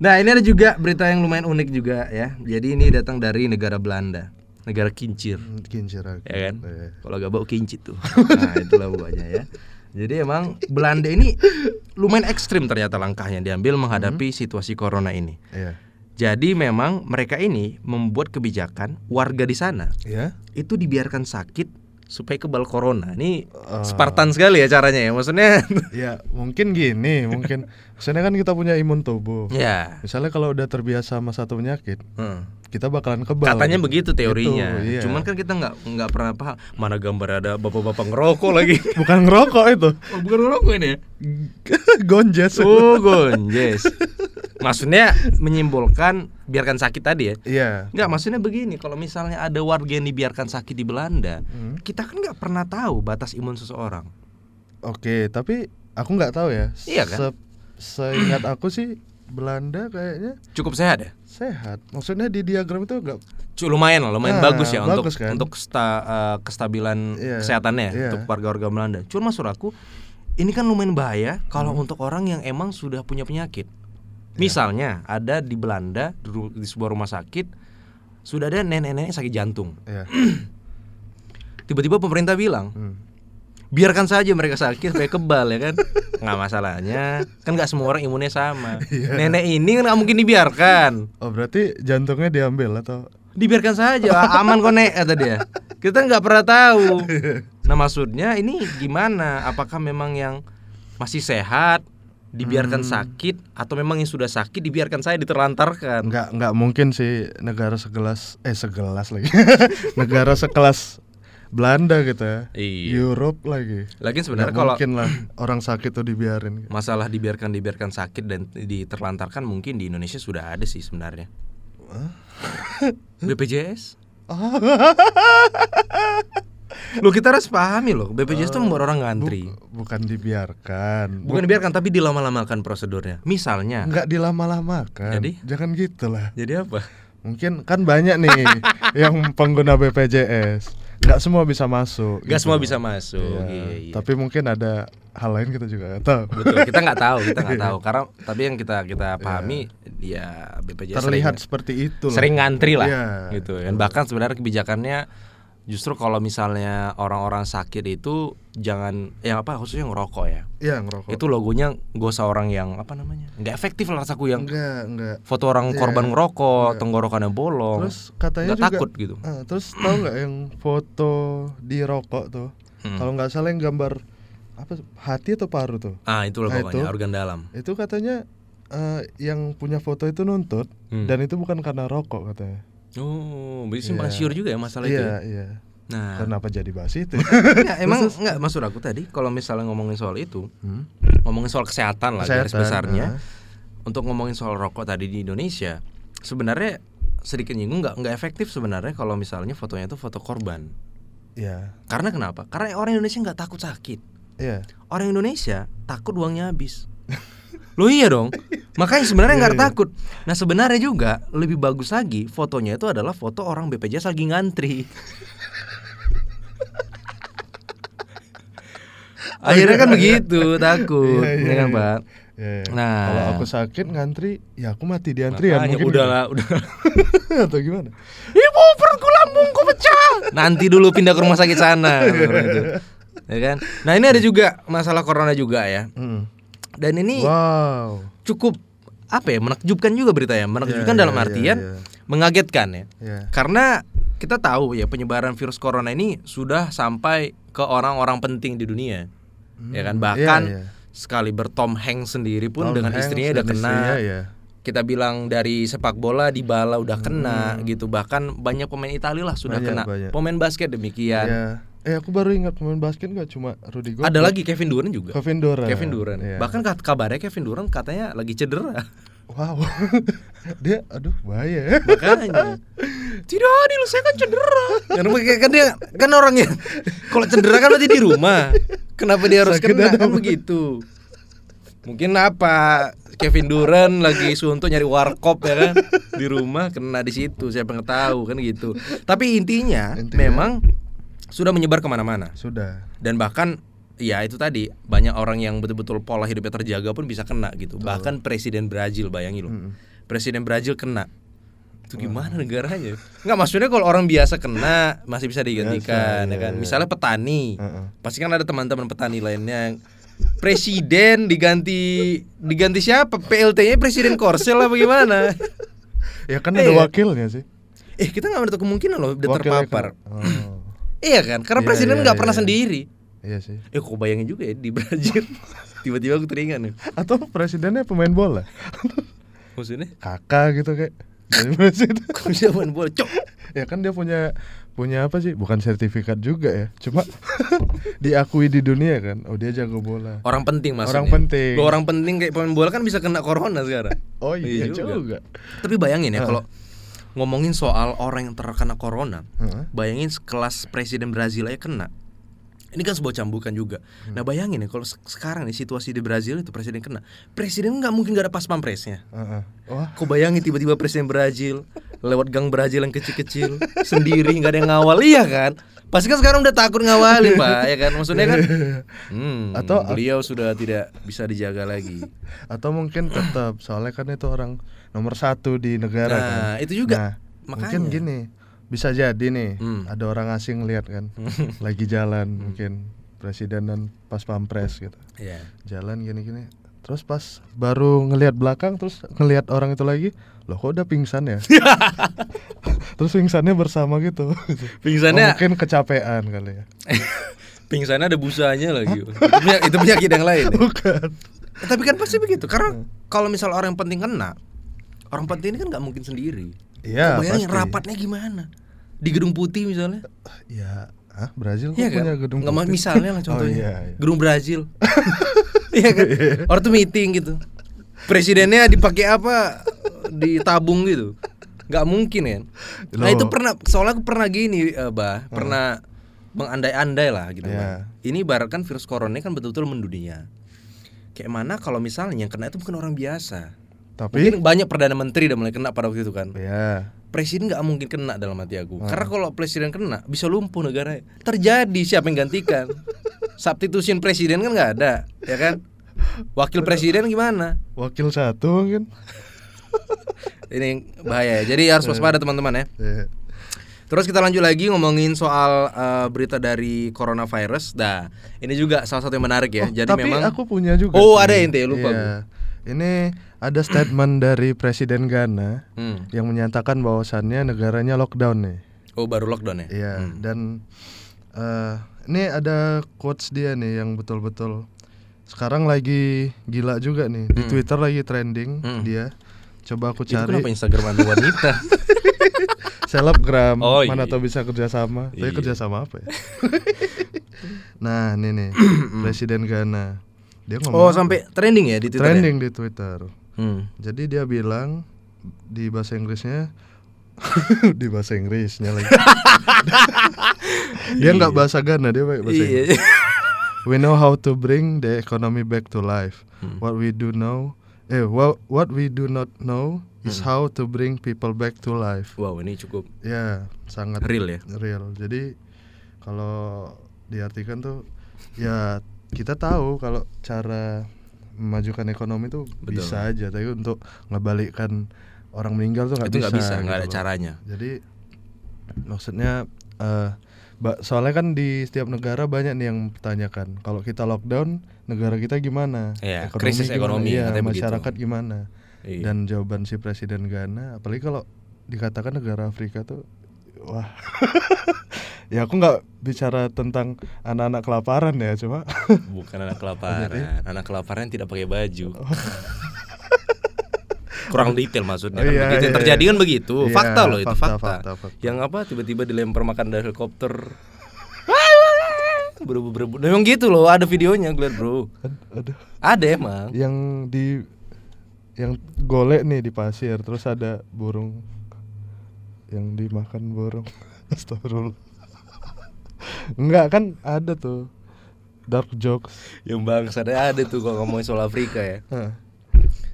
[SPEAKER 1] nah ini ada juga berita yang lumayan unik juga ya. Jadi ini datang dari negara Belanda, negara kincir,
[SPEAKER 2] Hmm, Kincir aku.
[SPEAKER 1] ya kan?
[SPEAKER 2] Iya.
[SPEAKER 1] Kalau gak bau kincit tuh. Nah itulah buahnya ya. Jadi emang Belanda ini lumayan ekstrim ternyata langkahnya diambil menghadapi situasi corona ini.
[SPEAKER 2] Iya.
[SPEAKER 1] Jadi memang mereka ini membuat kebijakan warga di sana
[SPEAKER 2] Iya.
[SPEAKER 1] itu dibiarkan sakit supaya kebal corona. Ini Spartan sekali ya caranya ya. Maksudnya
[SPEAKER 2] Ya, mungkin gini, mungkin maksudnya kan kita punya imun tubuh.
[SPEAKER 1] ya.
[SPEAKER 2] Misalnya kalau udah terbiasa sama satu penyakit,
[SPEAKER 1] Hmm.
[SPEAKER 2] kita bakalan kebal.
[SPEAKER 1] Katanya begitu teorinya.
[SPEAKER 2] Gitu, iya.
[SPEAKER 1] Cuman kan kita nggak nggak pernah paham mana gambar ada bapak-bapak ngerokok lagi.
[SPEAKER 2] bukan ngerokok itu.
[SPEAKER 1] Oh, bukan ngerokok ini ya.
[SPEAKER 2] Gonjes.
[SPEAKER 1] Oh, gonjes. Maksudnya menyimbolkan biarkan sakit tadi ya.
[SPEAKER 2] Iya.
[SPEAKER 1] Nggak, maksudnya begini, kalau misalnya ada warga yang dibiarkan sakit di Belanda,
[SPEAKER 2] Hmm.
[SPEAKER 1] kita kan nggak pernah tahu batas imun seseorang.
[SPEAKER 2] Oke, tapi aku nggak tahu ya.
[SPEAKER 1] Iya kan?
[SPEAKER 2] Se- Seingat aku sih Belanda kayaknya
[SPEAKER 1] Cukup sehat ya?
[SPEAKER 2] sehat. Maksudnya di diagram itu enggak
[SPEAKER 1] Cu- lumayan lah, lumayan
[SPEAKER 2] Ah,
[SPEAKER 1] bagus ya untuk
[SPEAKER 2] bagus kan?
[SPEAKER 1] untuk sta- eh, kestabilan
[SPEAKER 2] Iya,
[SPEAKER 1] kesehatannya ya,
[SPEAKER 2] iya.
[SPEAKER 1] untuk warga-warga Belanda. Cuma maksud aku ini kan lumayan bahaya kalau
[SPEAKER 2] Hmm.
[SPEAKER 1] untuk orang yang emang sudah punya penyakit.
[SPEAKER 2] Iya.
[SPEAKER 1] Misalnya ada di Belanda di ru- di sebuah rumah sakit sudah ada nenek-nenek sakit jantung.
[SPEAKER 2] ya.
[SPEAKER 1] Tiba-tiba pemerintah bilang
[SPEAKER 2] Hmm.
[SPEAKER 1] biarkan saja mereka sakit supaya kebal ya kan nggak masalahnya kan nggak semua orang imunnya sama
[SPEAKER 2] Iya.
[SPEAKER 1] nenek ini kan nggak mungkin dibiarkan
[SPEAKER 2] Oh, berarti jantungnya diambil atau
[SPEAKER 1] dibiarkan saja aman kok nek kata dia kita nggak pernah tahu nah maksudnya ini gimana apakah memang yang masih sehat dibiarkan
[SPEAKER 2] Hmm.
[SPEAKER 1] sakit atau memang yang sudah sakit dibiarkan saya diterlantarkan
[SPEAKER 2] nggak nggak mungkin sih negara segelas eh segelas lagi negara sekelas Belanda gitu ya
[SPEAKER 1] Iya.
[SPEAKER 2] Europe lagi
[SPEAKER 1] lagi
[SPEAKER 2] nggak
[SPEAKER 1] Kan sebenarnya kalau
[SPEAKER 2] mungkin lah orang sakit tuh dibiarin
[SPEAKER 1] masalah dibiarkan dibiarkan sakit dan diterlantarkan mungkin di Indonesia sudah ada sih sebenarnya BPJS Loh kita harus pahami loh BPJS
[SPEAKER 2] Eh,
[SPEAKER 1] tuh membuat orang ngantri
[SPEAKER 2] bukan dibiarkan
[SPEAKER 1] Bukan dibiarkan tapi dilama-lamakan prosedurnya Misalnya
[SPEAKER 2] nggak dilama-lamakan
[SPEAKER 1] Jadi?
[SPEAKER 2] jangan gitulah
[SPEAKER 1] Jadi apa?
[SPEAKER 2] mungkin kan banyak nih yang pengguna BPJS nggak semua bisa masuk
[SPEAKER 1] Gak
[SPEAKER 2] gitu.
[SPEAKER 1] semua bisa masuk
[SPEAKER 2] Iya,
[SPEAKER 1] Iya, iya.
[SPEAKER 2] tapi mungkin ada hal lain kita juga nggak tahu
[SPEAKER 1] Betul, kita nggak tahu, kita nggak tahu karena tapi yang kita kita pahami ya BPJS
[SPEAKER 2] Iya. terlihat
[SPEAKER 1] sering,
[SPEAKER 2] seperti itu lah.
[SPEAKER 1] sering ngantri lah
[SPEAKER 2] Iya.
[SPEAKER 1] gitu kan. Bahkan sebenarnya kebijakannya justru kalau misalnya orang-orang sakit itu jangan ya apa khususnya ngerokok ya.
[SPEAKER 2] Iya ngerokok
[SPEAKER 1] Itu logonya gak usah orang yang apa namanya? nggak efektif lah rasaku yang
[SPEAKER 2] enggak enggak
[SPEAKER 1] foto orang
[SPEAKER 2] Iya.
[SPEAKER 1] korban ngerokok, tenggorokannya bolong.
[SPEAKER 2] terus
[SPEAKER 1] Oh,
[SPEAKER 2] katanya
[SPEAKER 1] nggak
[SPEAKER 2] juga
[SPEAKER 1] takut gitu.
[SPEAKER 2] Ah, terus tahu nggak yang foto di rokok tuh
[SPEAKER 1] Hmm.
[SPEAKER 2] kalau nggak salah yang gambar apa hati atau paru tuh
[SPEAKER 1] Ah, itulah
[SPEAKER 2] Nah,
[SPEAKER 1] pokoknya
[SPEAKER 2] itu.
[SPEAKER 1] organ dalam.
[SPEAKER 2] itu katanya eh, yang punya foto itu nuntut
[SPEAKER 1] Hmm.
[SPEAKER 2] dan itu bukan karena rokok katanya
[SPEAKER 1] Oh, bisa simpang
[SPEAKER 2] Iya.
[SPEAKER 1] siur juga ya masalah itu. ya?
[SPEAKER 2] iya iya
[SPEAKER 1] Nah,
[SPEAKER 2] kenapa jadi bahas itu
[SPEAKER 1] Enggak, emang enggak maksud aku tadi kalau misalnya ngomongin soal itu,
[SPEAKER 2] Hmm?
[SPEAKER 1] ngomongin soal kesehatan lah garis
[SPEAKER 2] Kesehatan,
[SPEAKER 1] besarnya.
[SPEAKER 2] ah.
[SPEAKER 1] Untuk ngomongin soal rokok tadi di Indonesia, sebenarnya sedikit nyinggung nggak nggak efektif sebenarnya kalau misalnya fotonya itu foto korban.
[SPEAKER 2] iya
[SPEAKER 1] Karena kenapa? Karena orang Indonesia nggak takut sakit.
[SPEAKER 2] iya
[SPEAKER 1] Orang Indonesia takut uangnya habis. Loh iya dong. Makanya sebenarnya
[SPEAKER 2] Iya,
[SPEAKER 1] nggak takut. Nah sebenarnya juga lebih bagus lagi fotonya itu adalah foto orang BPJS lagi ngantri. Akhirnya kan begitu takut,
[SPEAKER 2] Iya, iya,
[SPEAKER 1] ya kan
[SPEAKER 2] iya.
[SPEAKER 1] Pak?
[SPEAKER 2] Iya, iya.
[SPEAKER 1] Nah.
[SPEAKER 2] kalau aku sakit ngantri ya aku mati di antrian
[SPEAKER 1] Makanya
[SPEAKER 2] mungkin
[SPEAKER 1] udah lah, udah.
[SPEAKER 2] atau gimana
[SPEAKER 1] Ibu perutku lambungku pecah. Nanti dulu pindah ke rumah sakit sana. Gitu. Ya kan? Nah ini ada juga masalah corona juga ya.
[SPEAKER 2] Hmm.
[SPEAKER 1] Dan ini
[SPEAKER 2] wow
[SPEAKER 1] cukup apa ya menakjubkan juga beritanya menakjubkan
[SPEAKER 2] Iya,
[SPEAKER 1] dalam
[SPEAKER 2] iya,
[SPEAKER 1] artian
[SPEAKER 2] iya,
[SPEAKER 1] mengagetkan ya
[SPEAKER 2] Iya.
[SPEAKER 1] karena kita tahu ya penyebaran virus corona ini sudah sampai ke orang-orang penting di dunia ya kan bahkan
[SPEAKER 2] iya.
[SPEAKER 1] sekali bertom Hanks sendiri pun
[SPEAKER 2] Tom
[SPEAKER 1] dengan
[SPEAKER 2] Hanks
[SPEAKER 1] istrinya udah
[SPEAKER 2] dan
[SPEAKER 1] kena
[SPEAKER 2] istrinya, iya.
[SPEAKER 1] kita bilang dari sepak bola di bala udah kena gitu bahkan banyak pemain Italia lah sudah
[SPEAKER 2] Hmm.
[SPEAKER 1] kena
[SPEAKER 2] Banyak, banyak.
[SPEAKER 1] pemain basket demikian
[SPEAKER 2] Iya. Eh aku baru ingat pemain basket gak cuma Rudy Gobert.
[SPEAKER 1] Kan? ada lagi Kevin Durant juga
[SPEAKER 2] Kevin Durant.
[SPEAKER 1] Kevin Durant
[SPEAKER 2] Iya.
[SPEAKER 1] bahkan kat- kabarnya Kevin Durant katanya lagi cedera
[SPEAKER 2] wow. dia aduh bahaya.
[SPEAKER 1] Makanya. Tidak adil, saya kan cedera. Kan, kan dia kan orangnya kalau cedera kan berarti di rumah. Kenapa dia harus
[SPEAKER 2] Sakit
[SPEAKER 1] kena
[SPEAKER 2] ada
[SPEAKER 1] kan
[SPEAKER 2] apa?
[SPEAKER 1] begitu? Mungkin apa Kevin Durant lagi suntuk nyari warkop ya kan di rumah kena di situ siapa yang tahu kan gitu. Tapi intinya,
[SPEAKER 2] Intinya.
[SPEAKER 1] memang sudah menyebar kemana-mana
[SPEAKER 2] Sudah.
[SPEAKER 1] dan bahkan ya itu tadi banyak orang yang betul-betul pola hidupnya terjaga pun bisa kena gitu. Bahkan presiden Brazil bayangin loh. Presiden Brazil kena. Itu gimana negaranya? Nggak maksudnya kalau orang biasa kena masih bisa digantikan ya
[SPEAKER 2] Biasa, iya,
[SPEAKER 1] kan.
[SPEAKER 2] iya.
[SPEAKER 1] Misalnya petani.
[SPEAKER 2] Heeh.
[SPEAKER 1] Pasti kan ada teman-teman petani lainnya yang presiden diganti diganti siapa? PLT-nya presiden Korsel apa gimana?
[SPEAKER 2] Ya kan
[SPEAKER 1] Eh,
[SPEAKER 2] ada
[SPEAKER 1] iya.
[SPEAKER 2] wakilnya sih.
[SPEAKER 1] Eh, kita nggak menutup kemungkinan loh dia
[SPEAKER 2] Wakilnya kan-
[SPEAKER 1] terpapar.
[SPEAKER 2] Oh.
[SPEAKER 1] Iya kan? Karena
[SPEAKER 2] Iya,
[SPEAKER 1] presiden
[SPEAKER 2] iya,
[SPEAKER 1] nggak
[SPEAKER 2] iya,
[SPEAKER 1] pernah
[SPEAKER 2] iya.
[SPEAKER 1] sendiri.
[SPEAKER 2] Iya sih.
[SPEAKER 1] Eh kok bayangin juga ya di Brazil Tiba-tiba aku teringat nih
[SPEAKER 2] Atau presidennya pemain bola.
[SPEAKER 1] Maksudnya
[SPEAKER 2] Kakak gitu kayak. Jadi presiden.
[SPEAKER 1] Kok bisa main bola cok
[SPEAKER 2] ya kan dia punya punya apa sih? Bukan sertifikat juga ya. Cuma diakui di dunia kan. Oh dia jago bola.
[SPEAKER 1] Orang penting maksudnya
[SPEAKER 2] Orang penting.
[SPEAKER 1] Loh, Orang penting kayak pemain bola kan bisa kena corona sekarang
[SPEAKER 2] Oh iya, juga. Ah.
[SPEAKER 1] Tapi bayangin ya kalau Ngomongin soal orang yang terkena corona
[SPEAKER 2] Heeh.
[SPEAKER 1] Bayangin sekelas presiden Brazil aja kena ini kan sebuah cambukan juga.
[SPEAKER 2] Hmm.
[SPEAKER 1] Nah bayangin ya kalau se- sekarang nih situasi di Brazil itu presiden kena, presiden nggak mungkin nggak ada pas pampresnya.
[SPEAKER 2] Heeh. Wah,
[SPEAKER 1] Kau bayangin tiba-tiba presiden Brazil lewat gang Brazil yang kecil-kecil sendiri nggak ada yang ngawal iya kan? Pasti kan sekarang udah takut ngawalin pak ya kan maksudnya kan? Hmm,
[SPEAKER 2] Atau-
[SPEAKER 1] beliau sudah tidak bisa dijaga lagi.
[SPEAKER 2] atau mungkin tetap soalnya kan itu orang nomor satu di negara
[SPEAKER 1] Nah,
[SPEAKER 2] kan.
[SPEAKER 1] itu juga. Makanya.
[SPEAKER 2] mungkin gini bisa jadi nih
[SPEAKER 1] Hmm.
[SPEAKER 2] ada orang asing lihat kan lagi jalan mungkin presiden dan pas pampres gitu
[SPEAKER 1] Ya.
[SPEAKER 2] jalan gini-gini terus pas baru ngelihat belakang terus ngelihat orang itu lagi loh kok udah pingsan ya terus pingsannya bersama gitu Oh,
[SPEAKER 1] Pingsannya,
[SPEAKER 2] mungkin kecapean kali ya
[SPEAKER 1] pingsannya ada busanya lagi. itu, penyak- itu penyakit yang lain. ya.
[SPEAKER 2] bukan
[SPEAKER 1] Eh, Tapi kan pasti begitu karena kalau misal orang yang penting kena, orang penting ini kan nggak mungkin sendiri. Kau
[SPEAKER 2] iya
[SPEAKER 1] bayangin
[SPEAKER 2] pasti
[SPEAKER 1] rapatnya gimana? Di gedung putih misalnya.
[SPEAKER 2] ya Hah, Brazil kok
[SPEAKER 1] Iya kan?
[SPEAKER 2] punya gedung
[SPEAKER 1] Nggak mau-
[SPEAKER 2] putih?
[SPEAKER 1] misalnya lah
[SPEAKER 2] Oh,
[SPEAKER 1] contohnya.
[SPEAKER 2] iya, iya.
[SPEAKER 1] Gedung Brazil. Iya kan? Orang tuh meeting gitu. Presidennya dipakai apa? Ditabung gitu. Nggak mungkin kan? Nah
[SPEAKER 2] Loh. Hmm.
[SPEAKER 1] itu pernah soalnya aku pernah gini, eh, Bah, pernah mengandai-andai lah gitu
[SPEAKER 2] Iya.
[SPEAKER 1] kan. Ini ibaratkan virus corona ini kan betul-betul mendunia. Kayak mana kalau misalnya yang kena itu bukan orang biasa.
[SPEAKER 2] tapi
[SPEAKER 1] Mungkin banyak perdana menteri udah mulai kena pada waktu itu kan
[SPEAKER 2] ya
[SPEAKER 1] presiden nggak mungkin kena dalam hati
[SPEAKER 2] Hmm.
[SPEAKER 1] aku karena kalau presiden kena bisa lumpuh negara terjadi siapa yang gantikan substitution presiden kan nggak ada ya kan wakil presiden gimana
[SPEAKER 2] wakil satu mungkin
[SPEAKER 1] ini yang bahaya ya jadi
[SPEAKER 2] Hmm.
[SPEAKER 1] harus waspada teman-teman ya
[SPEAKER 2] Iya.
[SPEAKER 1] terus kita lanjut lagi ngomongin soal eh, berita dari coronavirus nah ini juga salah satu yang menarik ya jadi
[SPEAKER 2] Oh, Tapi
[SPEAKER 1] memang
[SPEAKER 2] aku punya juga.
[SPEAKER 1] Oh,
[SPEAKER 2] sih.
[SPEAKER 1] ada ente, lupa
[SPEAKER 2] Iya. Ini ada statement dari Presiden Ghana
[SPEAKER 1] Hmm.
[SPEAKER 2] yang menyatakan bahwasannya negaranya lockdown nih.
[SPEAKER 1] oh baru lockdown ya
[SPEAKER 2] Iya. Dan eh, ini ada quotes dia nih yang betul-betul sekarang lagi gila juga nih di Twitter lagi trending dia. Coba aku
[SPEAKER 1] Hmm. itu kenapa ya?
[SPEAKER 2] cari
[SPEAKER 1] Instagram ada wanita
[SPEAKER 2] selebgram
[SPEAKER 1] Oh,
[SPEAKER 2] mana
[SPEAKER 1] iya.
[SPEAKER 2] tahu bisa kerjasama. Tapi
[SPEAKER 1] Iya.
[SPEAKER 2] kerjasama apa ya? nah ini nih Presiden Ghana dia ngomong
[SPEAKER 1] Hmm. oh sampai trending ya di Twitter ya?
[SPEAKER 2] trending di Twitter.
[SPEAKER 1] Hmm.
[SPEAKER 2] Jadi dia bilang di bahasa Inggrisnya di bahasa Inggrisnya lagi. dia nggak bahasa Ghana, dia pakai bahasa Inggris.
[SPEAKER 1] Iya.
[SPEAKER 2] We know how to bring the economy back to life. What we do know, eh what what we do not know is how to bring people back to life.
[SPEAKER 1] wow ini cukup
[SPEAKER 2] Ya, sangat
[SPEAKER 1] real ya
[SPEAKER 2] real. Jadi kalau diartikan tuh ya kita tahu kalau cara memajukan ekonomi tuh
[SPEAKER 1] Betul.
[SPEAKER 2] bisa aja, tapi untuk ngebalikkan orang meninggal tuh nggak
[SPEAKER 1] itu
[SPEAKER 2] bisa.
[SPEAKER 1] nggak bisa
[SPEAKER 2] gitu
[SPEAKER 1] nggak ada
[SPEAKER 2] loh.
[SPEAKER 1] caranya
[SPEAKER 2] Jadi maksudnya eh ba- soalnya kan di setiap negara banyak nih yang mempertanyakan kalau kita lockdown negara kita gimana?
[SPEAKER 1] Iya, krisis ekonomi,
[SPEAKER 2] gimana? Iya,
[SPEAKER 1] katanya begitu.
[SPEAKER 2] masyarakat gimana?
[SPEAKER 1] Iya.
[SPEAKER 2] Dan jawaban si presiden Ghana apalagi kalau dikatakan negara Afrika tuh wah. ya aku nggak bicara tentang anak-anak kelaparan ya, cuma
[SPEAKER 1] bukan anak
[SPEAKER 2] Iya,
[SPEAKER 1] kelaparan anak kelaparan yang tidak pakai baju
[SPEAKER 2] Oh.
[SPEAKER 1] kurang detail maksudnya
[SPEAKER 2] Oh,
[SPEAKER 1] kan
[SPEAKER 2] iya,
[SPEAKER 1] begitu yang
[SPEAKER 2] iya,
[SPEAKER 1] terjadi
[SPEAKER 2] iya.
[SPEAKER 1] kan begitu
[SPEAKER 2] Iya,
[SPEAKER 1] fakta loh itu fakta,
[SPEAKER 2] fakta, fakta, fakta.
[SPEAKER 1] yang apa tiba-tiba dilempar makan dari helikopter berebut berebut memang gitu loh ada videonya gue liat, bro
[SPEAKER 2] ad- aduh
[SPEAKER 1] ada emang
[SPEAKER 2] yang di yang golek nih di pasir terus ada burung yang dimakan burung astagfirullah enggak kan ada tuh dark jokes
[SPEAKER 1] yang bangsa ada ada tuh kalau ngomongin soal Afrika ya
[SPEAKER 2] Hah,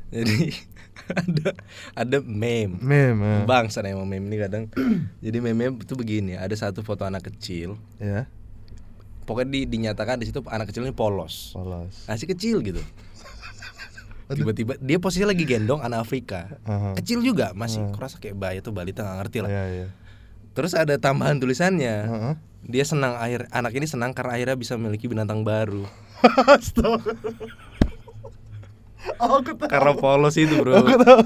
[SPEAKER 1] jadi ada ada meme
[SPEAKER 2] meme eh.
[SPEAKER 1] bangsa emang meme ini kadang jadi meme itu begini ada satu foto anak kecil
[SPEAKER 2] ya
[SPEAKER 1] pokoknya di- dinyatakan di situ anak kecil ini polos
[SPEAKER 2] polos
[SPEAKER 1] masih kecil gitu
[SPEAKER 2] Aduh.
[SPEAKER 1] tiba-tiba dia posisi lagi gendong anak Afrika
[SPEAKER 2] Aha.
[SPEAKER 1] kecil juga masih
[SPEAKER 2] Ah.
[SPEAKER 1] kerasa kayak bayi tuh balita nggak ngerti lah
[SPEAKER 2] Iya, iya.
[SPEAKER 1] terus ada tambahan tulisannya
[SPEAKER 2] Heeh.
[SPEAKER 1] dia senang akhir anak ini senang karena akhirnya bisa memiliki binatang baru
[SPEAKER 2] Astaga. Oh, Aku tahu.
[SPEAKER 1] karena polos itu bro
[SPEAKER 2] Aku tahu.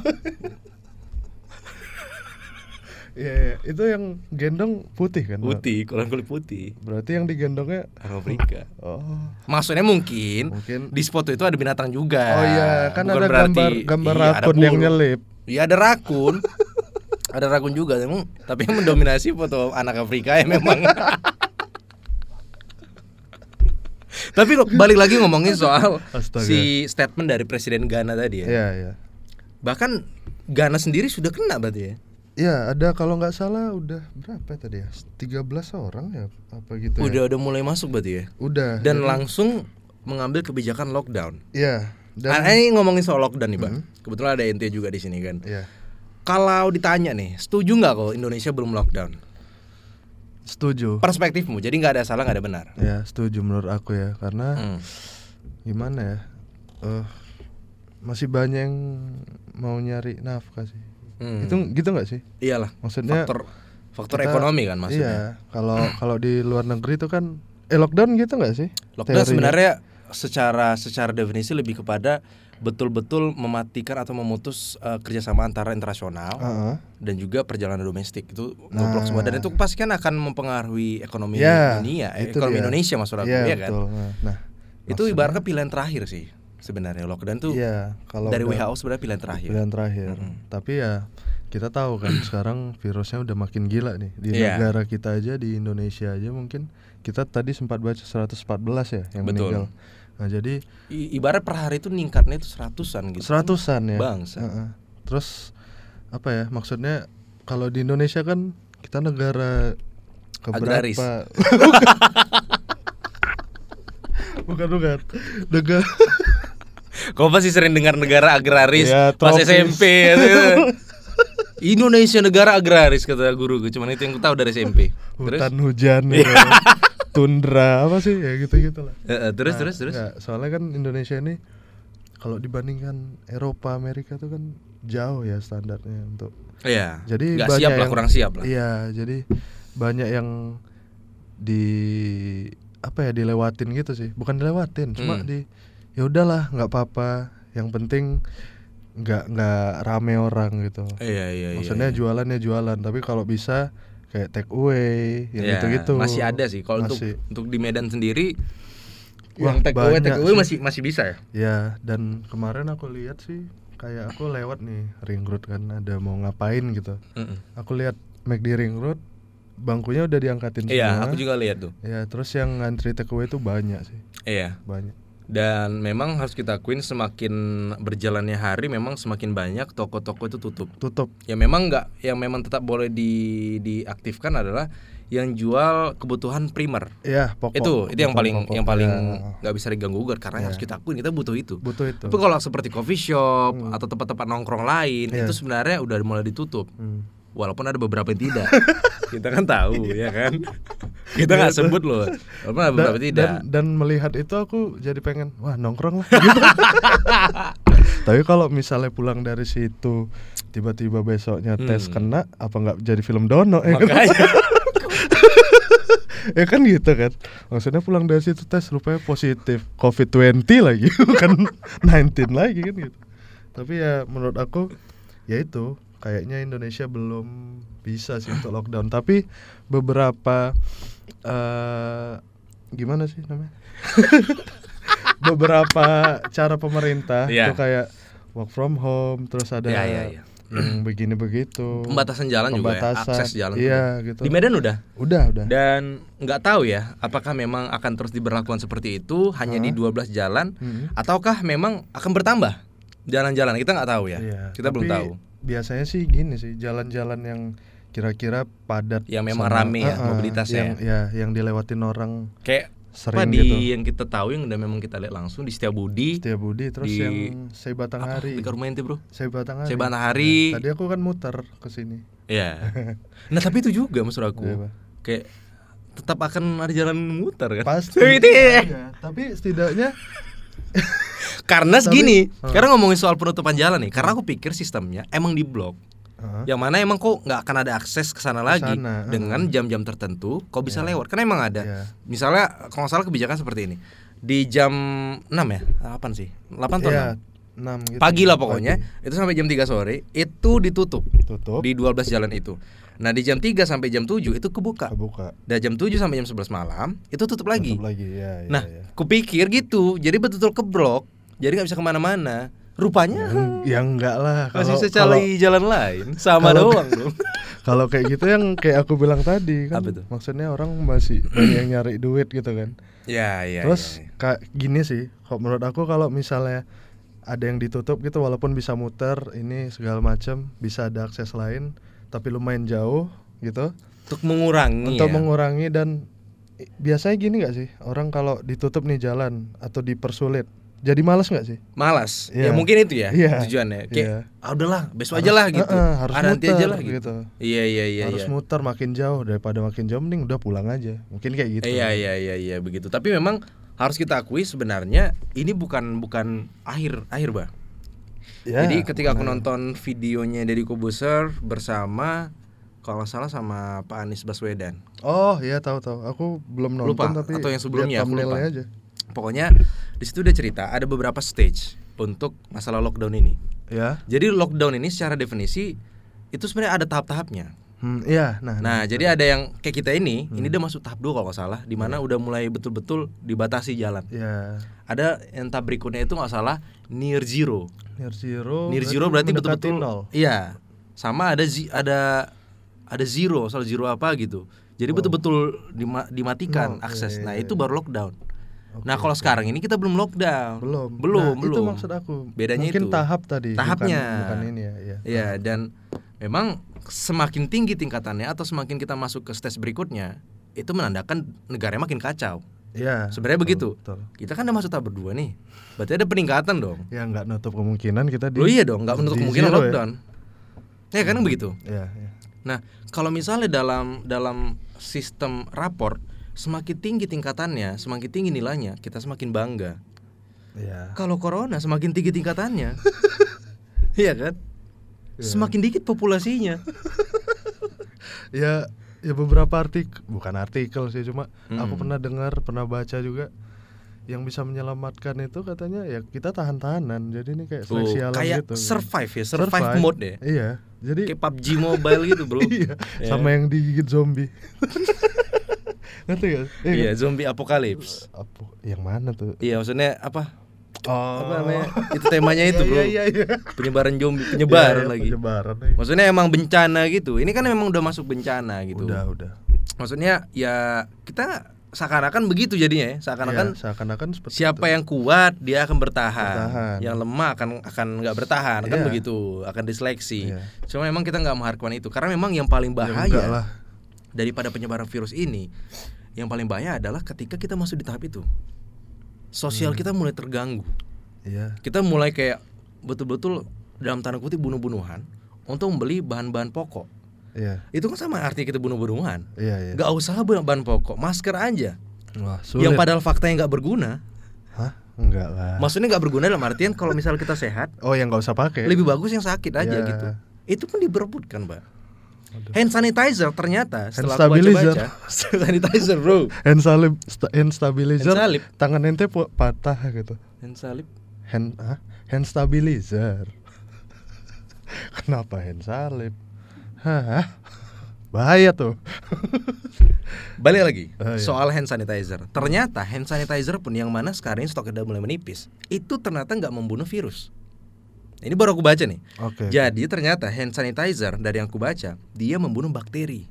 [SPEAKER 2] Iya, iya. itu yang gendong putih kan? Pak?
[SPEAKER 1] putih orang kulit putih
[SPEAKER 2] Berarti yang digendongnya
[SPEAKER 1] orang Afrika
[SPEAKER 2] oh.
[SPEAKER 1] maksudnya mungkin,
[SPEAKER 2] Mungkin-
[SPEAKER 1] di spot itu ada binatang juga
[SPEAKER 2] Oh iya,
[SPEAKER 1] Eh,
[SPEAKER 2] kan
[SPEAKER 1] Bukan
[SPEAKER 2] ada
[SPEAKER 1] berarti-
[SPEAKER 2] gambar gambar
[SPEAKER 1] iya, ada
[SPEAKER 2] rakun yang
[SPEAKER 1] burung.
[SPEAKER 2] nyelip.
[SPEAKER 1] Iya ada rakun. ada rakun juga emang, tapi yang mendominasi foto anak Afrika ya memang. tapi lo- balik lagi ngomongin soal
[SPEAKER 2] Astaga.
[SPEAKER 1] si statement dari presiden Ghana tadi ya.
[SPEAKER 2] Iya, iya.
[SPEAKER 1] Bahkan Ghana sendiri sudah kena berarti ya.
[SPEAKER 2] Iya, ada kalau nggak salah udah berapa tadi ya? 13 orang ya apa gitu ya.
[SPEAKER 1] Udah udah mulai masuk berarti ya.
[SPEAKER 2] Udah.
[SPEAKER 1] Dan
[SPEAKER 2] jadi-
[SPEAKER 1] langsung mengambil kebijakan lockdown.
[SPEAKER 2] Iya, dan Mm-hmm.
[SPEAKER 1] Ah, ini ngomongin soal lockdown nih, Bang. Kebetulan ada ente juga di sini kan.
[SPEAKER 2] iya.
[SPEAKER 1] Kalau ditanya nih, setuju nggak kalau Indonesia belum lockdown?
[SPEAKER 2] Setuju.
[SPEAKER 1] Perspektifmu, jadi nggak ada salah nggak ada benar.
[SPEAKER 2] Ya, setuju menurut aku ya karena
[SPEAKER 1] Hmm.
[SPEAKER 2] gimana ya? Eh masih banyak yang mau nyari nafkah sih.
[SPEAKER 1] Hmm.
[SPEAKER 2] Itu gitu nggak sih?
[SPEAKER 1] Iyalah.
[SPEAKER 2] Maksudnya
[SPEAKER 1] faktor faktor
[SPEAKER 2] kita-
[SPEAKER 1] ekonomi kan maksudnya. Hmm.
[SPEAKER 2] Iya, kalau kalau di luar negeri itu kan eh lockdown gitu nggak sih?
[SPEAKER 1] Lockdown
[SPEAKER 2] Teorinya.
[SPEAKER 1] sebenarnya secara secara definisi lebih kepada betul-betul mematikan atau memutus eh, kerjasama antara internasional
[SPEAKER 2] Heeh.
[SPEAKER 1] dan juga perjalanan domestik itu
[SPEAKER 2] Ah. Nah.
[SPEAKER 1] ngeblok semua dan itu pasti kan akan mempengaruhi ekonomi
[SPEAKER 2] Ya,
[SPEAKER 1] dunia, eh,
[SPEAKER 2] itu
[SPEAKER 1] ekonomi
[SPEAKER 2] dia.
[SPEAKER 1] Indonesia maksud aku
[SPEAKER 2] Iya,
[SPEAKER 1] ya kan.
[SPEAKER 2] betul. Nah, nah,
[SPEAKER 1] Itu ibaratnya pilihan terakhir sih sebenarnya lockdown tuh
[SPEAKER 2] Iya, kalau Iya.
[SPEAKER 1] dari
[SPEAKER 2] udah
[SPEAKER 1] WHO sebenarnya pilihan terakhir.
[SPEAKER 2] pilihan terakhir. Tapi ya kita tahu kan sekarang virusnya udah makin gila nih di
[SPEAKER 1] Iya.
[SPEAKER 2] negara kita aja di Indonesia aja mungkin kita tadi sempat baca 114 ya
[SPEAKER 1] Betul.
[SPEAKER 2] yang meninggal. Nah, jadi
[SPEAKER 1] I- ibarat per hari itu ningkatnya itu seratusan gitu.
[SPEAKER 2] seratusan ya.
[SPEAKER 1] Bangsa.
[SPEAKER 2] Heeh. Terus apa ya? Maksudnya kalau di Indonesia kan kita negara keberapa?
[SPEAKER 1] Agraris.
[SPEAKER 2] bukan bukan negara
[SPEAKER 1] Kau pasti sering dengar negara agraris
[SPEAKER 2] Ya,
[SPEAKER 1] pas
[SPEAKER 2] tropis.
[SPEAKER 1] SMP. gitu. Indonesia negara agraris kata guru cuman itu yang ku tahu dari SMP. Terus
[SPEAKER 2] hutan hujan ya. tundra apa sih ya gitu gitulah
[SPEAKER 1] Eh, eh, terus terus terus.
[SPEAKER 2] Nggak, soalnya kan Indonesia ini kalau dibandingkan Eropa Amerika tuh kan jauh ya standarnya untuk
[SPEAKER 1] Iya.
[SPEAKER 2] jadi
[SPEAKER 1] nggak
[SPEAKER 2] banyak
[SPEAKER 1] siap lah,
[SPEAKER 2] yang-
[SPEAKER 1] kurang siap lah.
[SPEAKER 2] iya jadi banyak yang di apa ya dilewatin gitu sih bukan dilewatin cuma
[SPEAKER 1] Hmm.
[SPEAKER 2] di ya udahlah nggak apa-apa yang penting nggak nggak rame orang gitu
[SPEAKER 1] Iya iya iya.
[SPEAKER 2] maksudnya jualannya jualan tapi kalau bisa kayak take away yang
[SPEAKER 1] Iya,
[SPEAKER 2] gitu-gitu
[SPEAKER 1] Masih ada sih kalau untuk
[SPEAKER 2] Masih.
[SPEAKER 1] untuk di Medan sendiri
[SPEAKER 2] Wah,
[SPEAKER 1] yang take away
[SPEAKER 2] banyak
[SPEAKER 1] take away masih
[SPEAKER 2] sih.
[SPEAKER 1] masih bisa ya.
[SPEAKER 2] Ya, dan kemarin aku lihat sih kayak aku lewat nih ring road kan ada mau ngapain gitu.
[SPEAKER 1] Mm-mm.
[SPEAKER 2] Aku lihat McD ring road bangkunya udah diangkatin
[SPEAKER 1] Iya,
[SPEAKER 2] semua.
[SPEAKER 1] aku juga lihat tuh.
[SPEAKER 2] Ya, terus yang ngantri takeaway itu banyak sih,
[SPEAKER 1] Iya.
[SPEAKER 2] banyak.
[SPEAKER 1] Dan memang harus kita akuin semakin berjalannya hari memang semakin banyak toko-toko itu tutup.
[SPEAKER 2] Tutup.
[SPEAKER 1] ya memang nggak yang memang tetap boleh di diaktifkan adalah yang jual kebutuhan primer
[SPEAKER 2] Ya, pokok.
[SPEAKER 1] itu itu yang
[SPEAKER 2] kebutuhan Iya.
[SPEAKER 1] paling
[SPEAKER 2] pokok.
[SPEAKER 1] yang paling
[SPEAKER 2] Ya,
[SPEAKER 1] nggak bisa diganggu gugat karena harus kita akuin kita butuh itu
[SPEAKER 2] butuh itu.
[SPEAKER 1] tapi kalau seperti coffee shop
[SPEAKER 2] Hmm.
[SPEAKER 1] atau tempat-tempat nongkrong lain itu sebenarnya udah mulai ditutup
[SPEAKER 2] Iya. Hmm.
[SPEAKER 1] walaupun ada beberapa yang tidak kita kan tahu ya kan kita nggak sebut loh walaupun ada beberapa
[SPEAKER 2] Iya. Dan,
[SPEAKER 1] yang tidak
[SPEAKER 2] dan, dan melihat itu aku jadi pengen wah nongkrong lah gitu. Tapi kalau misalnya pulang dari situ tiba-tiba besoknya tes kena apa nggak jadi film dono ya kan?
[SPEAKER 1] Hmm. makanya
[SPEAKER 2] ya kan gitu kan maksudnya pulang dari situ tes rupanya positif covid 20 lagi bukan 19 lagi kan gitu tapi ya menurut aku ya itu kayaknya Indonesia belum bisa sih untuk lockdown tapi beberapa eh gimana sih namanya beberapa cara pemerintah
[SPEAKER 1] Iya.
[SPEAKER 2] itu kayak work from home terus ada
[SPEAKER 1] Iya, iya, iya.
[SPEAKER 2] yang begini begitu
[SPEAKER 1] pembatasan jalan juga ya
[SPEAKER 2] Pembatasan,
[SPEAKER 1] akses jalan
[SPEAKER 2] iya, gitu.
[SPEAKER 1] di Medan udah
[SPEAKER 2] udah udah
[SPEAKER 1] Dan nggak tahu ya, apakah memang akan terus diberlakukan seperti itu hanya di 12 jalan,
[SPEAKER 2] Hmm.
[SPEAKER 1] ataukah memang akan bertambah jalan-jalan? Kita nggak tahu ya,
[SPEAKER 2] Iya,
[SPEAKER 1] kita belum
[SPEAKER 2] tapi
[SPEAKER 1] tahu.
[SPEAKER 2] Biasanya sih gini sih, jalan-jalan yang kira-kira padat
[SPEAKER 1] Yang memang rame ya,
[SPEAKER 2] Ah, ah,
[SPEAKER 1] mobilitasnya
[SPEAKER 2] yang, ya, yang dilewatin orang
[SPEAKER 1] Kayak apa
[SPEAKER 2] sering
[SPEAKER 1] di
[SPEAKER 2] gitu.
[SPEAKER 1] yang kita tahu yang udah memang kita lihat langsung di Setiabudi,
[SPEAKER 2] Setia Budi terus
[SPEAKER 1] di-
[SPEAKER 2] yang saya batang hari.
[SPEAKER 1] dekat rumah ente bro,
[SPEAKER 2] Saya batang hari. Nah,
[SPEAKER 1] saya Hari.
[SPEAKER 2] Tadi aku kan muter ke sini.
[SPEAKER 1] Ya. nah Iya. tapi itu juga maksud
[SPEAKER 2] Iya,
[SPEAKER 1] aku,
[SPEAKER 2] Pak.
[SPEAKER 1] kayak tetap akan ada jalan mutar kan
[SPEAKER 2] pasti
[SPEAKER 1] Itu ya.
[SPEAKER 2] Iya, tapi setidaknya
[SPEAKER 1] karena
[SPEAKER 2] Tapi-
[SPEAKER 1] segini
[SPEAKER 2] Hmm.
[SPEAKER 1] karena ngomongin soal penutupan jalan nih karena aku pikir sistemnya emang di blok
[SPEAKER 2] Hah?
[SPEAKER 1] yang mana emang kok nggak akan ada akses ke sana lagi
[SPEAKER 2] sana, heeh.
[SPEAKER 1] dengan jam-jam tertentu kau bisa lewat karena emang ada
[SPEAKER 2] Iya.
[SPEAKER 1] misalnya kalau nggak salah kebijakan seperti ini di jam 6 ya apa sih 8 atau
[SPEAKER 2] Iya,
[SPEAKER 1] 6?
[SPEAKER 2] enam gitu.
[SPEAKER 1] pagi lah pokoknya itu sampai jam 3 sore itu ditutup
[SPEAKER 2] Pagi. tutup
[SPEAKER 1] di 12 jalan itu nah di jam 3 sampai jam 7 itu kebuka
[SPEAKER 2] kebuka
[SPEAKER 1] dari jam 7 sampai jam 11 malam itu tutup lagi
[SPEAKER 2] tutup lagi ya, ya,
[SPEAKER 1] nah
[SPEAKER 2] ya.
[SPEAKER 1] kupikir gitu jadi betul-betul keblok jadi nggak bisa kemana-mana rupanya
[SPEAKER 2] yang, yang Ya enggak lah
[SPEAKER 1] masih
[SPEAKER 2] Iya. kalau
[SPEAKER 1] bisa
[SPEAKER 2] kalau-
[SPEAKER 1] cari jalan lain sama
[SPEAKER 2] kalau-
[SPEAKER 1] doang dong
[SPEAKER 2] kalau kayak gitu yang kayak aku bilang tadi kan
[SPEAKER 1] Apa tuh?
[SPEAKER 2] maksudnya orang masih banyak yang nyari duit gitu kan
[SPEAKER 1] ya ya
[SPEAKER 2] terus kayak gini sih kalau menurut aku kalau misalnya ada yang ditutup gitu walaupun bisa muter ini segala macam bisa ada akses lain tapi lumayan jauh gitu
[SPEAKER 1] untuk mengurangi ya.
[SPEAKER 2] untuk mengurangi dan i- biasanya gini nggak sih orang kalau ditutup nih jalan atau dipersulit jadi males nggak sih
[SPEAKER 1] malas ya
[SPEAKER 2] Iya.
[SPEAKER 1] mungkin itu ya
[SPEAKER 2] Iya.
[SPEAKER 1] tujuannya kayak
[SPEAKER 2] Iya.
[SPEAKER 1] ah, udahlah besok
[SPEAKER 2] Harus-
[SPEAKER 1] aja lah gitu
[SPEAKER 2] eh, eh, harus
[SPEAKER 1] ah, nanti aja
[SPEAKER 2] muter,
[SPEAKER 1] lah gitu.
[SPEAKER 2] gitu.
[SPEAKER 1] iya iya iya
[SPEAKER 2] harus
[SPEAKER 1] iya.
[SPEAKER 2] muter makin jauh daripada makin jauh mending udah pulang aja mungkin kayak gitu
[SPEAKER 1] Iya iya iya iya begitu. Tapi memang harus kita akui sebenarnya ini bukan bukan akhir akhir bah.
[SPEAKER 2] Ya,
[SPEAKER 1] Jadi ketika aku
[SPEAKER 2] benar.
[SPEAKER 1] nonton videonya dari Kobuser bersama kalau nggak salah sama Pak Anies Baswedan.
[SPEAKER 2] oh iya tahu tahu aku belum nonton
[SPEAKER 1] Lupa,
[SPEAKER 2] tapi
[SPEAKER 1] atau yang
[SPEAKER 2] lihat
[SPEAKER 1] sebelumnya, aku lupa.
[SPEAKER 2] thumbnailnya aja
[SPEAKER 1] Pokoknya di situ udah cerita ada beberapa stage untuk masalah lockdown ini.
[SPEAKER 2] ya
[SPEAKER 1] Jadi lockdown ini secara definisi itu sebenarnya ada tahap-tahapnya.
[SPEAKER 2] hmm, iya nah,
[SPEAKER 1] Nah, jadi ada yang kayak kita ini,
[SPEAKER 2] Hmm.
[SPEAKER 1] ini udah masuk tahap 2 kalau nggak salah, di mana udah mulai betul-betul dibatasi jalan.
[SPEAKER 2] ya
[SPEAKER 1] Ada yang tahap berikutnya itu nggak salah near zero.
[SPEAKER 2] near zero
[SPEAKER 1] Near zero berarti
[SPEAKER 2] Oh, mendekati
[SPEAKER 1] betul-betul
[SPEAKER 2] nol
[SPEAKER 1] Iya. Sama ada zi- ada ada zero, soal zero apa gitu. Jadi betul-betul dima- dimatikan
[SPEAKER 2] Nol,
[SPEAKER 1] akses.
[SPEAKER 2] iya,
[SPEAKER 1] Nah,
[SPEAKER 2] iya,
[SPEAKER 1] itu baru lockdown.
[SPEAKER 2] Oke,
[SPEAKER 1] nah, kalau sekarang ini kita belum lockdown.
[SPEAKER 2] belum
[SPEAKER 1] Belum,
[SPEAKER 2] Nah, itu
[SPEAKER 1] belum.
[SPEAKER 2] maksud aku
[SPEAKER 1] Bedanya
[SPEAKER 2] mungkin
[SPEAKER 1] itu.
[SPEAKER 2] tahap tadi bukan-
[SPEAKER 1] Tahapnya.
[SPEAKER 2] bukan, ini ya iya
[SPEAKER 1] Iya, dan memang semakin tinggi tingkatannya atau semakin kita masuk ke stage berikutnya, itu menandakan negaranya makin kacau.
[SPEAKER 2] Iya,
[SPEAKER 1] Sebenarnya begitu.
[SPEAKER 2] betul, betul.
[SPEAKER 1] Kita kan udah masuk tahap berdua nih. Berarti ada peningkatan dong.
[SPEAKER 2] ya nggak nutup kemungkinan kita di
[SPEAKER 1] Lo iya dong, nggak menutup
[SPEAKER 2] di
[SPEAKER 1] kemungkinan
[SPEAKER 2] zero
[SPEAKER 1] lockdown. Ya, kan begitu.
[SPEAKER 2] ya, ya.
[SPEAKER 1] Nah, kalau misalnya dalam dalam sistem rapor semakin tinggi tingkatannya, semakin tinggi nilainya, kita semakin bangga.
[SPEAKER 2] ya.
[SPEAKER 1] Kalau corona semakin tinggi tingkatannya. Iya kan?
[SPEAKER 2] Iya.
[SPEAKER 1] Semakin dikit populasinya.
[SPEAKER 2] ya ya beberapa artikel bukan artikel sih cuma
[SPEAKER 1] Mm.
[SPEAKER 2] aku pernah dengar pernah baca juga yang bisa menyelamatkan itu katanya ya kita tahan tahanan jadi ini kayak
[SPEAKER 1] Tuh,
[SPEAKER 2] seleksi alam
[SPEAKER 1] kayak
[SPEAKER 2] gitu
[SPEAKER 1] survive ya, survive, mode deh.
[SPEAKER 2] iya jadi
[SPEAKER 1] Kayak PUBG Mobile gitu, Bro.
[SPEAKER 2] iya sama yang digigit zombie ngerti gak Iya
[SPEAKER 1] Iya,
[SPEAKER 2] kan?
[SPEAKER 1] zombie apocalypse.
[SPEAKER 2] Apa, yang mana tuh
[SPEAKER 1] Iya, maksudnya apa?
[SPEAKER 2] oh
[SPEAKER 1] Apa namanya? Itu temanya itu, Bro.
[SPEAKER 2] iya iya iya
[SPEAKER 1] Penyebaran zombie, penyebaran
[SPEAKER 2] Iya, iya,
[SPEAKER 1] lagi.
[SPEAKER 2] penyebaran lagi.
[SPEAKER 1] Maksudnya emang bencana gitu. Ini kan memang udah masuk bencana gitu.
[SPEAKER 2] udah udah
[SPEAKER 1] maksudnya ya kita seakan-akan begitu jadinya ya seakan-akan
[SPEAKER 2] Iya, seakan-akan seperti
[SPEAKER 1] siapa yang kuat dia akan bertahan,
[SPEAKER 2] Bertahan.
[SPEAKER 1] yang lemah akan akan nggak bertahan kan
[SPEAKER 2] Iya.
[SPEAKER 1] begitu akan diseleksi
[SPEAKER 2] Iya.
[SPEAKER 1] cuma memang kita nggak mengharapkan itu karena memang yang paling
[SPEAKER 2] Ya enggak
[SPEAKER 1] bahaya
[SPEAKER 2] lah
[SPEAKER 1] daripada penyebaran virus ini yang paling bahaya adalah ketika kita masuk di tahap itu sosial
[SPEAKER 2] Hmm.
[SPEAKER 1] kita mulai terganggu
[SPEAKER 2] iya
[SPEAKER 1] kita mulai kayak betul-betul dalam tanda kutip bunuh-bunuhan untuk membeli bahan-bahan pokok
[SPEAKER 2] iya
[SPEAKER 1] itu kan sama artinya kita bunuh-bunuhan
[SPEAKER 2] iya iya
[SPEAKER 1] nggak usah beli bahan pokok masker aja
[SPEAKER 2] wah
[SPEAKER 1] yang
[SPEAKER 2] sulit
[SPEAKER 1] padahal faktanya nggak berguna
[SPEAKER 2] Hah? Enggak lah.
[SPEAKER 1] maksudnya nggak berguna dalam artian kalau misal kita sehat
[SPEAKER 2] oh, yang nggak usah pakai.
[SPEAKER 1] lebih bagus yang sakit aja
[SPEAKER 2] Ya.
[SPEAKER 1] gitu itu pun diperebutkan mbak
[SPEAKER 2] Aduh.
[SPEAKER 1] hand sanitizer ternyata setelah
[SPEAKER 2] Hand
[SPEAKER 1] aku
[SPEAKER 2] stabilizer.
[SPEAKER 1] baca-baca hand sanitizer bro
[SPEAKER 2] Hand salib, sta- hand stabilizer.
[SPEAKER 1] Hand salib.
[SPEAKER 2] Tangan ente pu- patah gitu.
[SPEAKER 1] hand salib
[SPEAKER 2] Hand, ah? hand stabilizer. Kenapa hand salib? Hah? Bahaya tuh.
[SPEAKER 1] balik lagi
[SPEAKER 2] Ah, iya.
[SPEAKER 1] soal hand sanitizer ternyata hand sanitizer pun yang mana sekarang ini stoknya udah mulai menipis itu ternyata nggak membunuh virus ini baru aku baca nih
[SPEAKER 2] Oke.
[SPEAKER 1] jadi ternyata hand sanitizer dari yang aku baca dia membunuh bakteri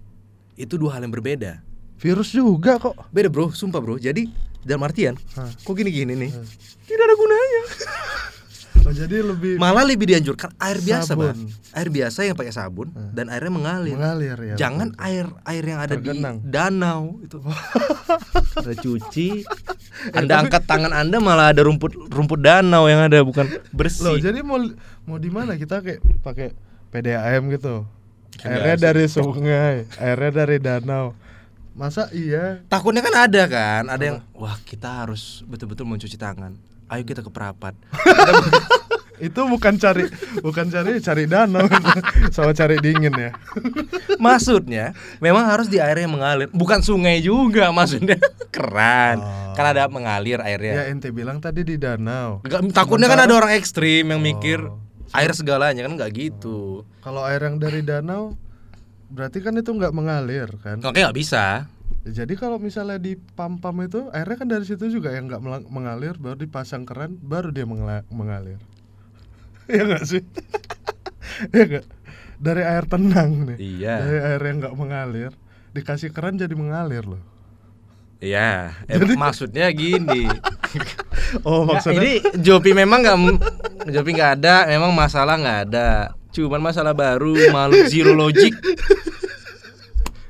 [SPEAKER 1] itu dua hal yang berbeda
[SPEAKER 2] Virus juga kok.
[SPEAKER 1] Beda bro, sumpah bro. Jadi dalam artian,
[SPEAKER 2] Hah.
[SPEAKER 1] kok gini-gini nih? Tidak ada gunanya.
[SPEAKER 2] Oh, jadi lebih
[SPEAKER 1] Malah lebih dianjurkan air biasa,
[SPEAKER 2] Sabun.
[SPEAKER 1] Bang. Air biasa yang pakai sabun dan airnya mengalir.
[SPEAKER 2] mengalir ya.
[SPEAKER 1] Jangan air air yang ada
[SPEAKER 2] Tergenang.
[SPEAKER 1] di danau itu. Ada cuci. Anda angkat tangan Anda malah ada rumput rumput danau yang ada bukan
[SPEAKER 2] Loh,
[SPEAKER 1] bersih.
[SPEAKER 2] jadi mau mau di mana kita kayak pakai PDAM gitu.
[SPEAKER 1] Enggak
[SPEAKER 2] Airnya
[SPEAKER 1] sih.
[SPEAKER 2] dari sungai, airnya dari danau. Masa iya?
[SPEAKER 1] Takutnya kan ada kan, ada yang wah kita harus betul-betul mencuci tangan. Ayo kita ke perapat.
[SPEAKER 2] Itu bukan cari bukan cari cari danau sama cari dingin ya.
[SPEAKER 1] maksudnya memang harus di air yang mengalir, bukan sungai juga maksudnya. Keran. Kan ada mengalir
[SPEAKER 2] Oh. Ya
[SPEAKER 1] airnya.
[SPEAKER 2] ente bilang tadi di danau.
[SPEAKER 1] Nggak- takutnya kan ada orang ekstrim yang mikir
[SPEAKER 2] Oh.
[SPEAKER 1] air segalanya kan nggak gitu.
[SPEAKER 2] Kalau air yang dari danau berarti kan itu nggak mengalir kan?
[SPEAKER 1] Oke nggak bisa.
[SPEAKER 2] Jadi kalau misalnya di pam-pam itu airnya kan dari situ juga yang nggak melang- mengalir baru dipasang keran baru dia mengela- mengalir. Iya nggak sih? Iya nggak? Dari air tenang nih. Dari
[SPEAKER 1] Iya.
[SPEAKER 2] air yang nggak mengalir dikasih keran jadi mengalir loh.
[SPEAKER 1] Iya. Eh, maksudnya gini.
[SPEAKER 2] Oh
[SPEAKER 1] Nggak,
[SPEAKER 2] maksudnya
[SPEAKER 1] ini Jopi memang nggak Jopi nggak ada, memang masalah nggak ada. Cuman masalah baru, makhluk zero logic.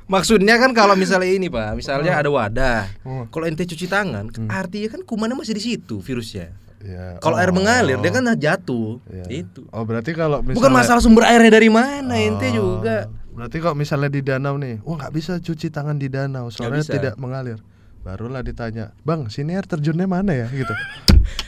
[SPEAKER 1] Maksudnya kan kalau misalnya ini pak, misalnya ada wadah,
[SPEAKER 2] Oh.
[SPEAKER 1] kalau ente cuci tangan, artinya kan kumannya masih di situ virusnya.
[SPEAKER 2] Ya,
[SPEAKER 1] Kalau air
[SPEAKER 2] oh.
[SPEAKER 1] mengalir dia kan jatuh,
[SPEAKER 2] Ya.
[SPEAKER 1] itu.
[SPEAKER 2] Oh berarti kalau misalnya
[SPEAKER 1] Bukan masalah sumber airnya dari mana ente Nah, juga.
[SPEAKER 2] Oh, Berarti kalau misalnya di danau nih, wah nggak bisa cuci tangan di danau, soalnya
[SPEAKER 1] bisa.
[SPEAKER 2] tidak mengalir. Barulah ditanya, bang, sini air terjunnya mana ya? Gitu.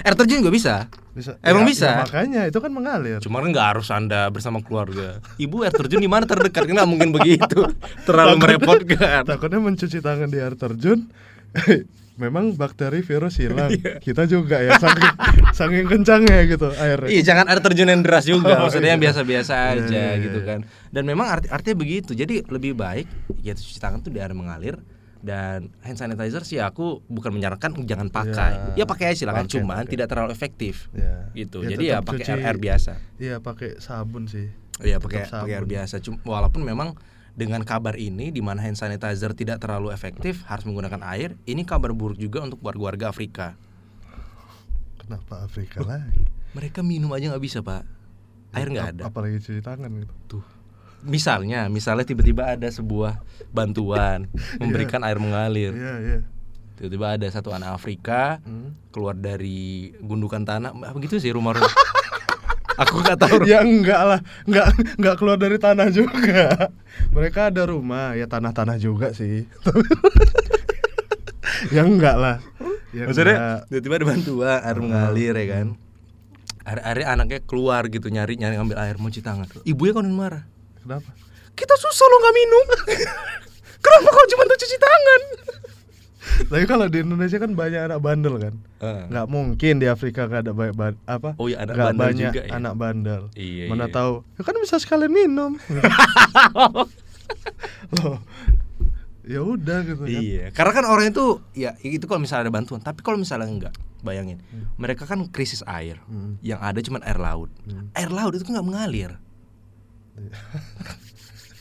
[SPEAKER 1] Air terjun nggak bisa.
[SPEAKER 2] Bisa.
[SPEAKER 1] Emang
[SPEAKER 2] Ya,
[SPEAKER 1] bisa?
[SPEAKER 2] ya makanya itu kan mengalir.
[SPEAKER 1] Cuma kan nggak harus anda bersama keluarga. Ibu air terjun di mana terdekat? Nggak mungkin begitu. Terlalu merepotkan.
[SPEAKER 2] Takutnya mencuci tangan di air terjun, memang bakteri virus hilang.
[SPEAKER 1] Iya.
[SPEAKER 2] Kita juga ya, saking, saking kencangnya gitu airnya.
[SPEAKER 1] Iya jangan air terjun yang deras juga
[SPEAKER 2] Oh,
[SPEAKER 1] maksudnya yang
[SPEAKER 2] iya.
[SPEAKER 1] biasa-biasa
[SPEAKER 2] Iya,
[SPEAKER 1] aja
[SPEAKER 2] iya,
[SPEAKER 1] gitu
[SPEAKER 2] iya.
[SPEAKER 1] kan dan memang arti artinya begitu jadi lebih baik ya cuci tangan tuh di air mengalir dan hand sanitizer sih aku bukan menyarankan jangan pakai
[SPEAKER 2] Iya.
[SPEAKER 1] ya pakai aja silakan
[SPEAKER 2] Pakai,
[SPEAKER 1] cuman
[SPEAKER 2] pakai.
[SPEAKER 1] tidak terlalu efektif
[SPEAKER 2] Iya.
[SPEAKER 1] gitu
[SPEAKER 2] Ya,
[SPEAKER 1] jadi ya
[SPEAKER 2] tetap
[SPEAKER 1] pakai
[SPEAKER 2] cuci-
[SPEAKER 1] air, air biasa
[SPEAKER 2] Iya pakai sabun sih.
[SPEAKER 1] ya pakai
[SPEAKER 2] Tetap
[SPEAKER 1] pakai air
[SPEAKER 2] sabun.
[SPEAKER 1] biasa Cum- walaupun memang dengan kabar ini di mana hand sanitizer tidak terlalu efektif harus menggunakan air ini kabar buruk juga untuk warga-warga Afrika
[SPEAKER 2] Kenapa
[SPEAKER 1] Oh,
[SPEAKER 2] Afrika lagi?
[SPEAKER 1] mereka minum aja nggak bisa pak air nggak
[SPEAKER 2] Ap-
[SPEAKER 1] ada
[SPEAKER 2] Apalagi cuci tangan gitu.
[SPEAKER 1] tuh misalnya misalnya tiba-tiba ada sebuah bantuan memberikan air mengalir
[SPEAKER 2] Iya iya.
[SPEAKER 1] tiba-tiba ada satu anak Afrika
[SPEAKER 2] Hmm.
[SPEAKER 1] keluar dari gundukan tanah apa gitu sih rumah rumah aku nggak tahu
[SPEAKER 2] Ya enggak lah, enggak enggak keluar dari tanah juga. Mereka ada rumah, ya tanah-tanah juga sih. ya enggak lah. Ya
[SPEAKER 1] maksudnya
[SPEAKER 2] enggak.
[SPEAKER 1] tiba-tiba ada bantuan air
[SPEAKER 2] Ah.
[SPEAKER 1] mengalir ya kan air air anaknya keluar gitu nyari nyari ngambil air mau cuci tangan ibunya kan marah
[SPEAKER 2] kenapa?
[SPEAKER 1] kita susah lo nggak minum kenapa kau cuma tuh cuci tangan
[SPEAKER 2] Tapi kalau di Indonesia kan banyak anak bandel kan.
[SPEAKER 1] Eh.
[SPEAKER 2] Enggak mungkin di Afrika enggak ada banyak ban- apa?
[SPEAKER 1] Oh iya, anak
[SPEAKER 2] nggak
[SPEAKER 1] bandel
[SPEAKER 2] banyak
[SPEAKER 1] juga ya.
[SPEAKER 2] anak bandel.
[SPEAKER 1] Iya,
[SPEAKER 2] Mana
[SPEAKER 1] iya.
[SPEAKER 2] tahu. Ya kan bisa sekalian minum. Loh. Ya udah gitu kan.
[SPEAKER 1] Iya, karena kan orang itu ya itu kalau misalnya ada bantuan, tapi kalau misalnya enggak, bayangin. Mereka kan krisis air.
[SPEAKER 2] Hmm.
[SPEAKER 1] Yang ada cuma air laut. Air laut itu kan nggak mengalir.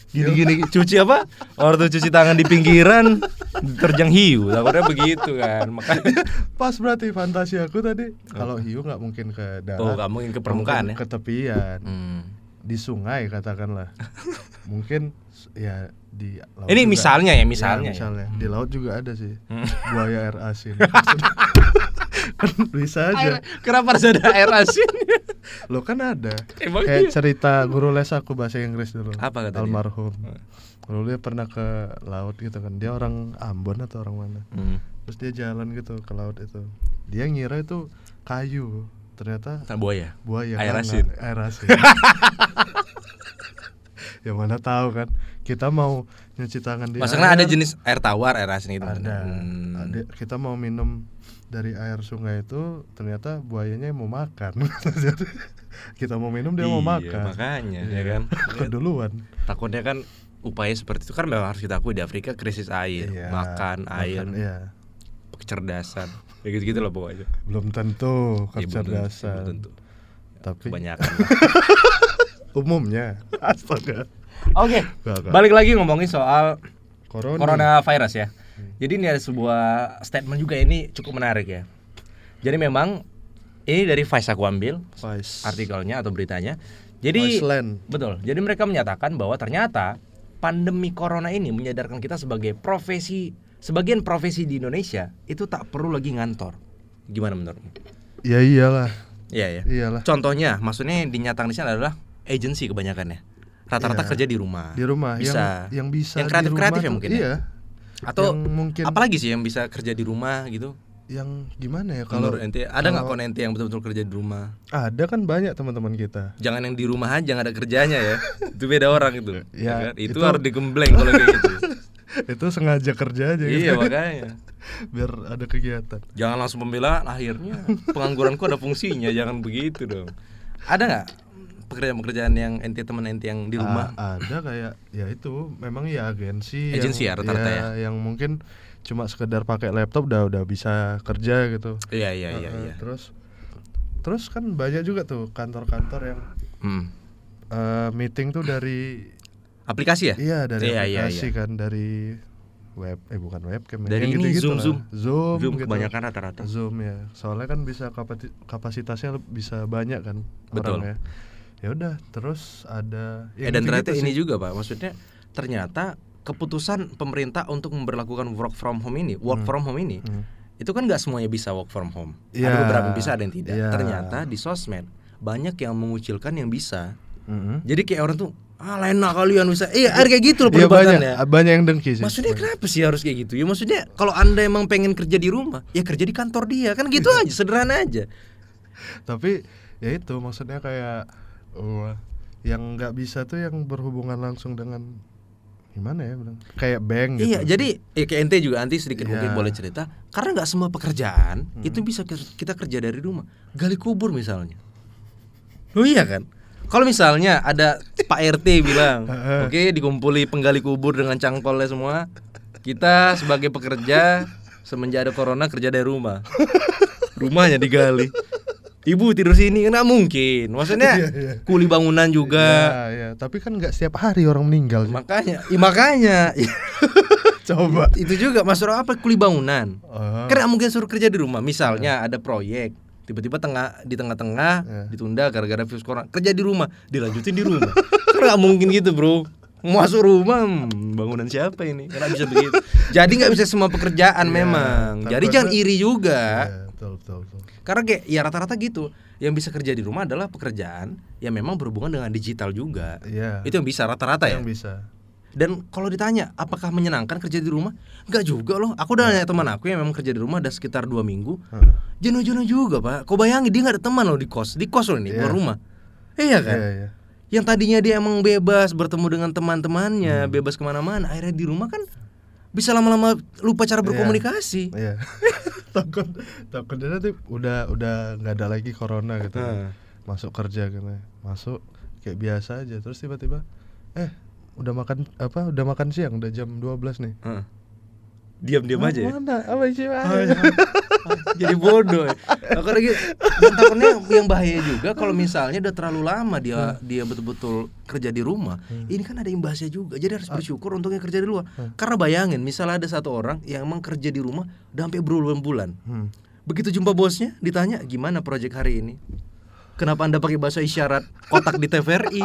[SPEAKER 1] Gini gini cuci apa? Orang tuh cuci tangan di pinggiran terjang hiu. Takutnya begitu kan. Makanya
[SPEAKER 2] Pas berarti fantasi aku tadi. Kalau hiu nggak mungkin ke darat.
[SPEAKER 1] Oh, nggak mungkin ke permukaan
[SPEAKER 2] mungkin
[SPEAKER 1] ya?
[SPEAKER 2] Ke tepian.
[SPEAKER 1] Hmm.
[SPEAKER 2] di sungai katakanlah mungkin s- ya di laut
[SPEAKER 1] Ini
[SPEAKER 2] juga.
[SPEAKER 1] misalnya ya, misalnya.
[SPEAKER 2] Ya, misalnya di laut juga ada sih
[SPEAKER 1] Hmm.
[SPEAKER 2] buaya air asin kan bisa
[SPEAKER 1] Air,
[SPEAKER 2] aja
[SPEAKER 1] kenapa harus ada air asin?
[SPEAKER 2] lo kan ada
[SPEAKER 1] Emang
[SPEAKER 2] kayak
[SPEAKER 1] iya?
[SPEAKER 2] cerita guru les aku bahasa Inggris dulu
[SPEAKER 1] Apa Hmm. kata dia?
[SPEAKER 2] almarhum dulu dia pernah ke laut gitu kan dia orang Ambon atau orang mana
[SPEAKER 1] Hmm.
[SPEAKER 2] terus dia jalan gitu ke laut itu dia ngira itu kayu ternyata
[SPEAKER 1] Tak buaya.
[SPEAKER 2] buaya
[SPEAKER 1] Air
[SPEAKER 2] karena
[SPEAKER 1] asin.
[SPEAKER 2] air asin ya mana tahu kan kita mau nyuci tangan di
[SPEAKER 1] Maksudnya ada
[SPEAKER 2] air,
[SPEAKER 1] jenis air tawar, air asin gitu.
[SPEAKER 2] ada,
[SPEAKER 1] Hmm.
[SPEAKER 2] Ada. kita mau minum dari air sungai itu ternyata buayanya mau makan Jadi, kita mau minum dia mau
[SPEAKER 1] Iya,
[SPEAKER 2] makan
[SPEAKER 1] makanya,
[SPEAKER 2] Iya.
[SPEAKER 1] ya kan?
[SPEAKER 2] keduluan
[SPEAKER 1] takutnya kan upaya seperti itu kan memang harus kita akui di Afrika krisis air
[SPEAKER 2] Iya,
[SPEAKER 1] makan air
[SPEAKER 2] makan, iya.
[SPEAKER 1] kecerdasan ya gitu gitu lah pokoknya Ya, belum
[SPEAKER 2] belum tentu
[SPEAKER 1] tentu, belum
[SPEAKER 2] kecerdasan
[SPEAKER 1] tentu Ya,
[SPEAKER 2] tapi
[SPEAKER 1] kebanyakan
[SPEAKER 2] umumnya astaga
[SPEAKER 1] oke
[SPEAKER 2] Gak, gak.
[SPEAKER 1] balik lagi ngomongin soal Oh,
[SPEAKER 2] corona,
[SPEAKER 1] coronavirus ya jadi ini ada sebuah statement juga ini cukup menarik ya jadi memang ini dari Vice aku ambil
[SPEAKER 2] Vice.
[SPEAKER 1] artikelnya atau beritanya jadi
[SPEAKER 2] Iceland.
[SPEAKER 1] Betul. Jadi mereka menyatakan bahwa ternyata pandemi corona ini menyadarkan kita sebagai profesi sebagian profesi di Indonesia itu tak perlu lagi ngantor. Gimana menurutmu?
[SPEAKER 2] ya iyalah
[SPEAKER 1] Iya ya.
[SPEAKER 2] iyalah
[SPEAKER 1] Contohnya, maksudnya yang dinyatakan di sana adalah agensi kebanyakannya. Rata-rata
[SPEAKER 2] Iya.
[SPEAKER 1] kerja di rumah.
[SPEAKER 2] di rumah
[SPEAKER 1] Bisa.
[SPEAKER 2] yang yang bisa
[SPEAKER 1] Yang kreatif-kreatif
[SPEAKER 2] di
[SPEAKER 1] ya
[SPEAKER 2] rumah tuh-
[SPEAKER 1] mungkin ya?
[SPEAKER 2] iya
[SPEAKER 1] Atau
[SPEAKER 2] yang mungkin
[SPEAKER 1] apalagi sih yang bisa kerja di rumah gitu?
[SPEAKER 2] yang gimana ya
[SPEAKER 1] Kalau
[SPEAKER 2] kalau
[SPEAKER 1] ente ada nggak kon
[SPEAKER 2] kalau-
[SPEAKER 1] ente yang betul-betul kerja di rumah?
[SPEAKER 2] ada kan banyak teman-teman kita
[SPEAKER 1] Jangan yang di rumah aja nggak ada kerjanya ya. itu beda orang itu.
[SPEAKER 2] Ya,
[SPEAKER 1] kan? itu,
[SPEAKER 2] itu-
[SPEAKER 1] harus digembleng kalau kayak gitu.
[SPEAKER 2] itu sengaja kerja aja
[SPEAKER 1] iya
[SPEAKER 2] gitu,
[SPEAKER 1] makanya.
[SPEAKER 2] biar ada kegiatan
[SPEAKER 1] Jangan langsung pembela akhirnya pengangguranku ada fungsinya, jangan begitu dong. Ada nggak pekerjaan-pekerjaan yang ente teman ente yang di rumah?
[SPEAKER 2] A- ada kayak ya itu memang ya agensi
[SPEAKER 1] Agensi ya,
[SPEAKER 2] yang,
[SPEAKER 1] rata-rata
[SPEAKER 2] yang mungkin cuma sekedar pakai laptop udah udah bisa kerja gitu
[SPEAKER 1] Iya iya iya
[SPEAKER 2] Uh,
[SPEAKER 1] iya.
[SPEAKER 2] terus terus kan banyak juga tuh kantor-kantor yang
[SPEAKER 1] Hmm.
[SPEAKER 2] uh, meeting tuh dari
[SPEAKER 1] Aplikasi ya?
[SPEAKER 2] iya dari
[SPEAKER 1] Iya, iya,
[SPEAKER 2] aplikasi
[SPEAKER 1] iya.
[SPEAKER 2] kan dari web eh bukan webcam ya,
[SPEAKER 1] Dari
[SPEAKER 2] yang
[SPEAKER 1] ini,
[SPEAKER 2] gitu-gitu
[SPEAKER 1] Zoom,
[SPEAKER 2] lah.
[SPEAKER 1] Zoom.
[SPEAKER 2] zoom
[SPEAKER 1] Zoom
[SPEAKER 2] gitu.
[SPEAKER 1] kebanyakan rata-rata.
[SPEAKER 2] zoom ya soalnya kan bisa kapati- kapasitasnya leb- bisa banyak kan
[SPEAKER 1] Betul.
[SPEAKER 2] orangnya ya udah terus ada
[SPEAKER 1] Eh,
[SPEAKER 2] ya
[SPEAKER 1] dan
[SPEAKER 2] gitu-gitu
[SPEAKER 1] ternyata
[SPEAKER 2] sih.
[SPEAKER 1] ini juga pak, maksudnya ternyata keputusan pemerintah untuk memperlakukan work from home ini, work from home ini,
[SPEAKER 2] Hmm.
[SPEAKER 1] itu kan nggak semuanya bisa work from home. Ada
[SPEAKER 2] Ya.
[SPEAKER 1] beberapa yang bisa ada yang tidak.
[SPEAKER 2] Ya.
[SPEAKER 1] Ternyata di sosmed banyak yang mengucilkan yang bisa.
[SPEAKER 2] Mm-mm.
[SPEAKER 1] Jadi kayak orang tuh, ah enak kalian bisa. Iya, ada kayak gitu loh
[SPEAKER 2] Iya banyak,
[SPEAKER 1] perdebatannya.
[SPEAKER 2] banyak yang dengki sih.
[SPEAKER 1] Maksudnya kenapa sih harus kayak gitu? Ya maksudnya kalau anda emang pengen kerja di rumah, ya kerja di kantor dia kan gitu
[SPEAKER 2] Iya.
[SPEAKER 1] aja, sederhana aja.
[SPEAKER 2] Tapi ya itu maksudnya kayak wah, yang nggak bisa tuh yang berhubungan langsung dengan gimana ya bilang kayak bank gitu.
[SPEAKER 1] Iya, jadi ya kayak ente juga nanti sedikit
[SPEAKER 2] Iya. Hmm.
[SPEAKER 1] mungkin boleh cerita. Karena nggak semua pekerjaan itu bisa ke- kita kerja dari rumah. Gali kubur misalnya. Oh iya kan? Kalau misalnya ada Pak RT bilang, oke dikumpuli penggali kubur dengan cangkolnya semua, kita sebagai pekerja semenjak ada corona kerja dari rumah. Rumahnya digali. Ibu tidur sini nggak mungkin. Maksudnya
[SPEAKER 2] Iya, iya.
[SPEAKER 1] kuli bangunan juga.
[SPEAKER 2] Ya, ya. tapi kan nggak setiap hari orang meninggal. sih.
[SPEAKER 1] Makanya, Ih, makanya.
[SPEAKER 2] Coba.
[SPEAKER 1] itu juga mas Ro, apa kuli bangunan
[SPEAKER 2] Ah.
[SPEAKER 1] karena Kan mungkin suruh kerja di rumah misalnya
[SPEAKER 2] Iya.
[SPEAKER 1] ada proyek tiba-tiba tengah di tengah-tengah
[SPEAKER 2] Ya.
[SPEAKER 1] ditunda gara-gara virus corona kerja di rumah dilanjutin di rumah karena nggak mungkin gitu bro masuk rumah hmm, bangunan siapa ini karena bisa begitu jadi nggak bisa semua pekerjaan
[SPEAKER 2] Iya,
[SPEAKER 1] memang jadi
[SPEAKER 2] takutnya-
[SPEAKER 1] jangan iri juga
[SPEAKER 2] Ya, betul, betul, betul.
[SPEAKER 1] karena kayak ya rata-rata gitu yang bisa kerja di rumah adalah pekerjaan yang memang berhubungan dengan digital juga
[SPEAKER 2] Iya.
[SPEAKER 1] itu yang bisa rata-rata ya
[SPEAKER 2] yang bisa.
[SPEAKER 1] dan kalau ditanya apakah menyenangkan kerja di rumah, enggak juga loh. Aku
[SPEAKER 2] Iya.
[SPEAKER 1] udah nanya teman aku yang memang kerja di rumah ada sekitar dua minggu.
[SPEAKER 2] Heeh.
[SPEAKER 1] Jenuh-jenuh juga pak. Kau bayangin dia nggak ada teman loh di kos, di kos loh ini
[SPEAKER 2] Iya.
[SPEAKER 1] bukan rumah. Iya kan?
[SPEAKER 2] Iya, iya.
[SPEAKER 1] Yang tadinya dia emang bebas bertemu dengan teman-temannya,
[SPEAKER 2] Hmm.
[SPEAKER 1] bebas kemana-mana. Akhirnya di rumah kan bisa lama-lama lupa cara berkomunikasi.
[SPEAKER 2] Iya. takut takutnya nanti udah udah nggak ada lagi corona gitu.
[SPEAKER 1] Heeh.
[SPEAKER 2] Masuk kerja gitu. ya. Masuk kayak biasa aja terus tiba-tiba eh udah makan apa udah makan siang udah jam 12 nih.
[SPEAKER 1] Heeh.
[SPEAKER 2] Nah,
[SPEAKER 1] Diam-diam aja ya. iya.
[SPEAKER 2] Mana? Apa sih?
[SPEAKER 1] jadi bodoh ya. Aku lagi dan takutnya yang bahaya juga kalau misalnya udah terlalu lama dia
[SPEAKER 2] Hmm.
[SPEAKER 1] dia betul-betul kerja di rumah ini kan ada imbasnya juga jadi
[SPEAKER 2] Ah.
[SPEAKER 1] harus bersyukur untungnya kerja di luar
[SPEAKER 2] Hmm.
[SPEAKER 1] karena bayangin misalnya ada satu orang yang emang kerja di rumah udah sampai berbulan-bulan
[SPEAKER 2] Hmm.
[SPEAKER 1] begitu jumpa bosnya ditanya gimana proyek hari ini Kenapa anda pakai bahasa isyarat kotak di TVRI?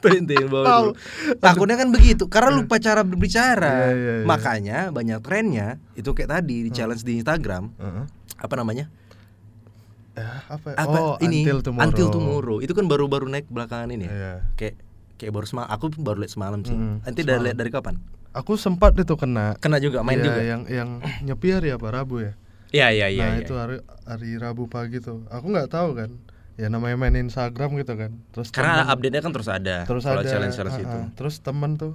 [SPEAKER 1] Tuh, ente yang bawa dulu. Takutnya kan begitu, karena lupa cara berbicara.
[SPEAKER 2] Iya, iya, iya.
[SPEAKER 1] Makanya banyak trennya itu kayak tadi di challenge di Instagram,
[SPEAKER 2] Hmm. Heeh.
[SPEAKER 1] apa namanya?
[SPEAKER 2] Eh, apa?
[SPEAKER 1] apa
[SPEAKER 2] oh,
[SPEAKER 1] ini
[SPEAKER 2] until tomorrow.
[SPEAKER 1] Until Tomorrow. itu kan baru-baru naik belakangan ini ya
[SPEAKER 2] Iya.
[SPEAKER 1] kayak kayak baru semalam aku baru lihat semalam sih
[SPEAKER 2] Mm,
[SPEAKER 1] nanti dari dari kapan
[SPEAKER 2] Aku sempat itu kena.
[SPEAKER 1] kena juga main
[SPEAKER 2] Iya,
[SPEAKER 1] juga
[SPEAKER 2] yang yang nyepi hari apa Rabu ya?
[SPEAKER 1] iya iya iya
[SPEAKER 2] nah
[SPEAKER 1] iya.
[SPEAKER 2] itu hari hari Rabu pagi tuh aku nggak tahu kan ya namanya main Instagram gitu kan terus
[SPEAKER 1] karena
[SPEAKER 2] temen-
[SPEAKER 1] update nya kan terus ada
[SPEAKER 2] terus
[SPEAKER 1] kalau
[SPEAKER 2] ada
[SPEAKER 1] challenge challenge
[SPEAKER 2] ah,
[SPEAKER 1] itu
[SPEAKER 2] ah, terus temen tuh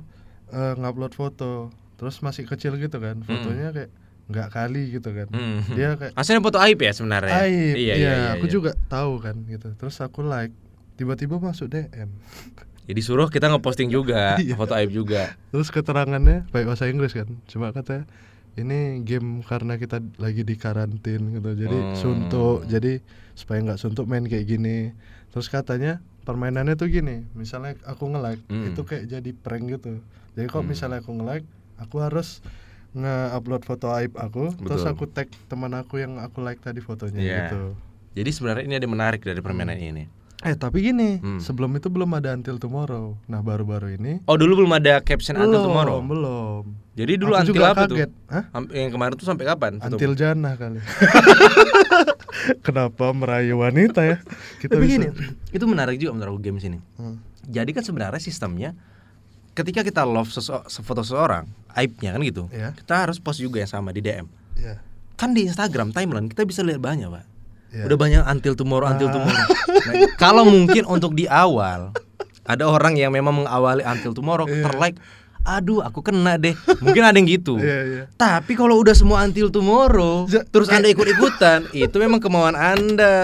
[SPEAKER 2] eh, ngupload foto terus masih kecil gitu kan fotonya kayak nggak kali gitu kan
[SPEAKER 1] Hmm.
[SPEAKER 2] dia kayak
[SPEAKER 1] Aslinya foto aib ya sebenarnya
[SPEAKER 2] aib
[SPEAKER 1] iya,
[SPEAKER 2] ya
[SPEAKER 1] iya, iya,
[SPEAKER 2] aku
[SPEAKER 1] iya.
[SPEAKER 2] juga tahu kan gitu terus aku like tiba-tiba masuk DM
[SPEAKER 1] jadi suruh Ya kita
[SPEAKER 2] Iya.
[SPEAKER 1] ngeposting juga foto aib juga
[SPEAKER 2] terus keterangannya baik bahasa Inggris kan cuma katanya ini game karena kita lagi di karantin gitu jadi
[SPEAKER 1] Hmm.
[SPEAKER 2] suntuk jadi supaya nggak suntuk main kayak gini terus katanya permainannya tuh gini misalnya aku nge like
[SPEAKER 1] Hmm.
[SPEAKER 2] itu kayak jadi prank gitu jadi kalau misalnya aku nge like aku harus nge-upload foto aib aku
[SPEAKER 1] Betul.
[SPEAKER 2] terus aku tag teman aku yang aku like tadi fotonya
[SPEAKER 1] Iya.
[SPEAKER 2] gitu
[SPEAKER 1] jadi sebenarnya ini ada yang menarik dari permainan ini
[SPEAKER 2] eh tapi gini
[SPEAKER 1] Hmm.
[SPEAKER 2] sebelum itu belum ada until tomorrow nah baru-baru ini
[SPEAKER 1] oh dulu belum ada caption until tomorrow
[SPEAKER 2] belum
[SPEAKER 1] jadi dulu until
[SPEAKER 2] Aku juga
[SPEAKER 1] apa
[SPEAKER 2] kaget.
[SPEAKER 1] tuh
[SPEAKER 2] Hah?
[SPEAKER 1] Am- yang kemarin tuh sampai kapan
[SPEAKER 2] Antil jana kali. Kenapa merayu wanita ya? Kita
[SPEAKER 1] Tapi
[SPEAKER 2] bisa.
[SPEAKER 1] gini, itu menarik juga menurut aku game sini.
[SPEAKER 2] Hmm.
[SPEAKER 1] Jadi kan sebenarnya sistemnya ketika kita love sese- sefoto seseorang, aibnya kan gitu.
[SPEAKER 2] Iya.
[SPEAKER 1] Kita harus post juga yang sama di DM.
[SPEAKER 2] Iya.
[SPEAKER 1] Kan di Instagram timeline kita bisa lihat banyak, Pak.
[SPEAKER 2] Iya. Ah.
[SPEAKER 1] Udah banyak until tomorrow, until tomorrow. Nah, kalau mungkin untuk di awal ada orang yang memang mengawali until tomorrow
[SPEAKER 2] Iya.
[SPEAKER 1] terlike Aduh, aku kena deh. Mungkin ada yang gitu.
[SPEAKER 2] Iya, iya.
[SPEAKER 1] Tapi kalau udah semua until tomorrow,
[SPEAKER 2] Ja-
[SPEAKER 1] terus anda ikut-ikutan, itu memang kemauan anda,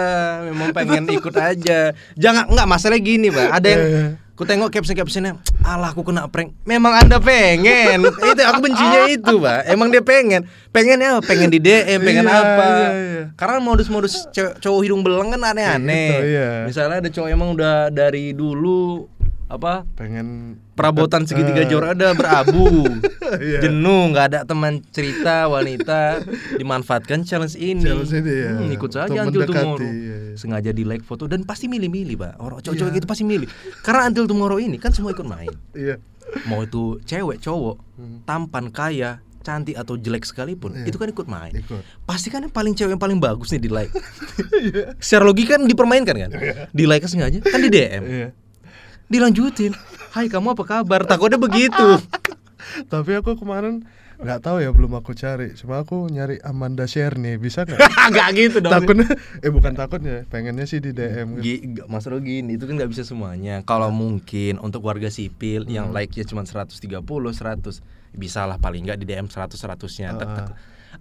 [SPEAKER 1] memang pengen ikut aja. Jangan nggak masalahnya gini, pak. Ada yang
[SPEAKER 2] Iya, iya.
[SPEAKER 1] ku tengok caption captionnya, Allah aku kena prank. Memang anda pengen. itu aku bencinya itu, pak. Emang dia pengen. Pengennya apa? Pengen di DM, pengen
[SPEAKER 2] Iya,
[SPEAKER 1] apa?
[SPEAKER 2] iya, iya.
[SPEAKER 1] Karena modus-modus ce- cowok hidung belang kan aneh-aneh.
[SPEAKER 2] Gitu, iya.
[SPEAKER 1] Misalnya ada cowok emang udah dari dulu apa
[SPEAKER 2] Pengen
[SPEAKER 1] perabotan segitiga
[SPEAKER 2] Eh,
[SPEAKER 1] jorok ada berabu
[SPEAKER 2] Iya.
[SPEAKER 1] jenuh nggak ada teman cerita wanita dimanfaatkan challenge ini,
[SPEAKER 2] Challenge ini, ya.
[SPEAKER 1] Hmm, ikut saja
[SPEAKER 2] Untuk
[SPEAKER 1] until
[SPEAKER 2] mendekati,
[SPEAKER 1] tomorrow
[SPEAKER 2] iya, iya.
[SPEAKER 1] sengaja di like foto dan pasti milih-milih pak orang cowok-cowok
[SPEAKER 2] Iya.
[SPEAKER 1] gitu pasti milih karena until tomorrow ini kan semua ikut main
[SPEAKER 2] Iya.
[SPEAKER 1] mau itu cewek cowok tampan kaya cantik atau jelek sekalipun
[SPEAKER 2] Hmm. Iya.
[SPEAKER 1] itu kan ikut main
[SPEAKER 2] Ikut.
[SPEAKER 1] pasti kan yang paling cewek yang paling bagus nih di like secara logika kan dipermainkan kan di like sengaja kan di DM
[SPEAKER 2] Iya.
[SPEAKER 1] dilanjutin Hai kamu apa kabar takutnya begitu
[SPEAKER 2] Tapi aku kemarin nggak tahu ya belum aku cari. Cuma aku nyari Amanda Share nih, bisa nggak?
[SPEAKER 1] Gak gitu dong
[SPEAKER 2] takutnya eh bukan takutnya, pengennya sih di DM gitu.
[SPEAKER 1] Gi- g- Mas Ro gini itu kan nggak bisa semuanya kalau mungkin untuk warga sipil yang like-nya cuma 130 100 bisa lah paling nggak di DM 100 100-nya Tek, tek.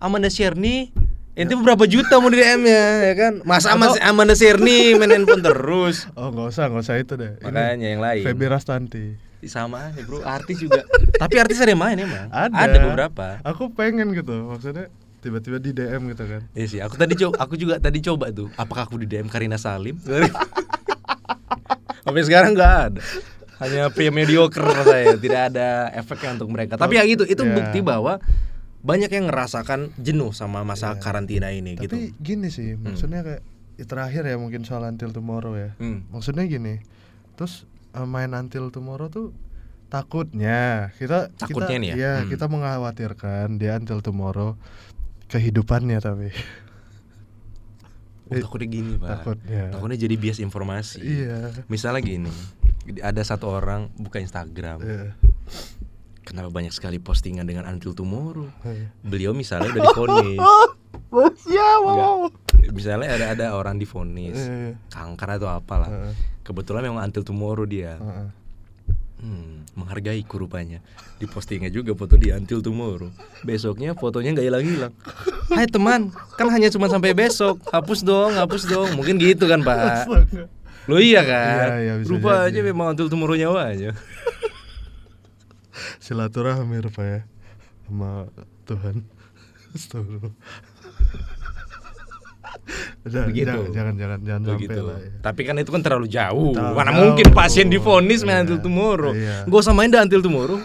[SPEAKER 1] Amanda Sherni itu berapa juta mau di DM-nya ya kan masa Mas Amanda Sherni main handphone terus
[SPEAKER 2] Oh nggak usah, nggak usah itu deh. Ini
[SPEAKER 1] makanya yang lain
[SPEAKER 2] Feby Rastanti.
[SPEAKER 1] sama aja bro artis juga tapi artis ada yang main emang
[SPEAKER 2] Ada.
[SPEAKER 1] beberapa
[SPEAKER 2] Aku pengen gitu, maksudnya tiba-tiba di DM gitu kan.
[SPEAKER 1] Iya sih, aku tadi coba, aku juga tadi coba tuh. Apakah aku di DM Karina Salim? Sampai sekarang nggak ada. Hanya pria mediocre saya, tidak ada efeknya untuk mereka. Tapi ya gitu, itu
[SPEAKER 2] Ya.
[SPEAKER 1] bukti bahwa banyak yang ngerasakan jenuh sama masa karantina ini gitu.
[SPEAKER 2] Iya. Tapi gini sih, maksudnya kayak ya terakhir ya mungkin soal Until Tomorrow ya.
[SPEAKER 1] Hmm.
[SPEAKER 2] Maksudnya gini, terus eh, main Until Tomorrow tuh takutnya kita
[SPEAKER 1] Takutnya
[SPEAKER 2] kita,
[SPEAKER 1] nih ya?
[SPEAKER 2] iya,
[SPEAKER 1] Hmm.
[SPEAKER 2] kita mengkhawatirkan dia Until Tomorrow kehidupannya tapi
[SPEAKER 1] Oh, takutnya gini, Pak.
[SPEAKER 2] eh, takutnya.
[SPEAKER 1] Takutnya jadi bias informasi.
[SPEAKER 2] iya.
[SPEAKER 1] Misalnya gini, ada satu orang buka Instagram,
[SPEAKER 2] Iya.
[SPEAKER 1] kenapa banyak sekali postingan dengan until tomorrow?
[SPEAKER 2] Iya.
[SPEAKER 1] Beliau misalnya udah difonis. Enggak. Misalnya ada ada orang difonis
[SPEAKER 2] Iya, iya.
[SPEAKER 1] kanker atau apalah.
[SPEAKER 2] Heeh.
[SPEAKER 1] Kebetulan memang until tomorrow dia.
[SPEAKER 2] Heeh.
[SPEAKER 1] Hmm, menghargai kurupanya. Di postingnya juga foto di until tomorrow. Besoknya fotonya nggak hilang-hilang. Hai teman, kan hanya cuma sampai besok. Hapus dong, hapus dong. Mungkin gitu kan, Pak. Lo iya kan?
[SPEAKER 2] Iya, iya, bisa
[SPEAKER 1] Rupa
[SPEAKER 2] jadi.
[SPEAKER 1] aja memang until tomorrow nyawa aja.
[SPEAKER 2] Silaturahmi Pak ya sama Tuhan. Astagfirullah. Jangan,
[SPEAKER 1] Begitu.
[SPEAKER 2] jangan, jangan, jangan, jangan sampai
[SPEAKER 1] Begitu.
[SPEAKER 2] lah. ya.
[SPEAKER 1] Oh, Tapi kan itu kan terlalu jauh.
[SPEAKER 2] Terlalu
[SPEAKER 1] Mana
[SPEAKER 2] jauh.
[SPEAKER 1] mungkin pasien difonis main
[SPEAKER 2] Iya.
[SPEAKER 1] until tomorrow.
[SPEAKER 2] Iya.
[SPEAKER 1] Gak usah main dah until tomorrow.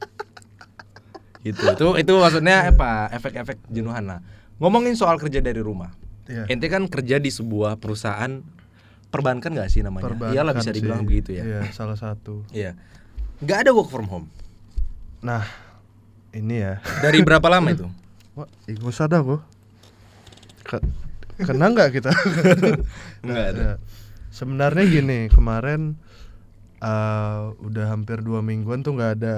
[SPEAKER 1] gitu. Itu itu maksudnya apa? Efek-efek jenuhan lah. Ngomongin soal kerja dari rumah.
[SPEAKER 2] Iya.
[SPEAKER 1] Ente kan kerja di sebuah perusahaan perbankan gak sih namanya?
[SPEAKER 2] Perbankan
[SPEAKER 1] Iyalah Iya, bisa dibilang
[SPEAKER 2] sih.
[SPEAKER 1] begitu ya.
[SPEAKER 2] Iya, salah satu.
[SPEAKER 1] Iya. Gak ada work from home.
[SPEAKER 2] Nah, ini ya.
[SPEAKER 1] Dari berapa lama itu?
[SPEAKER 2] Wah, ingus ada gua. Ke- kena nggak kita?
[SPEAKER 1] Enggak ada.
[SPEAKER 2] Ya. Sebenarnya gini, kemarin eh, udah hampir dua mingguan tuh nggak ada.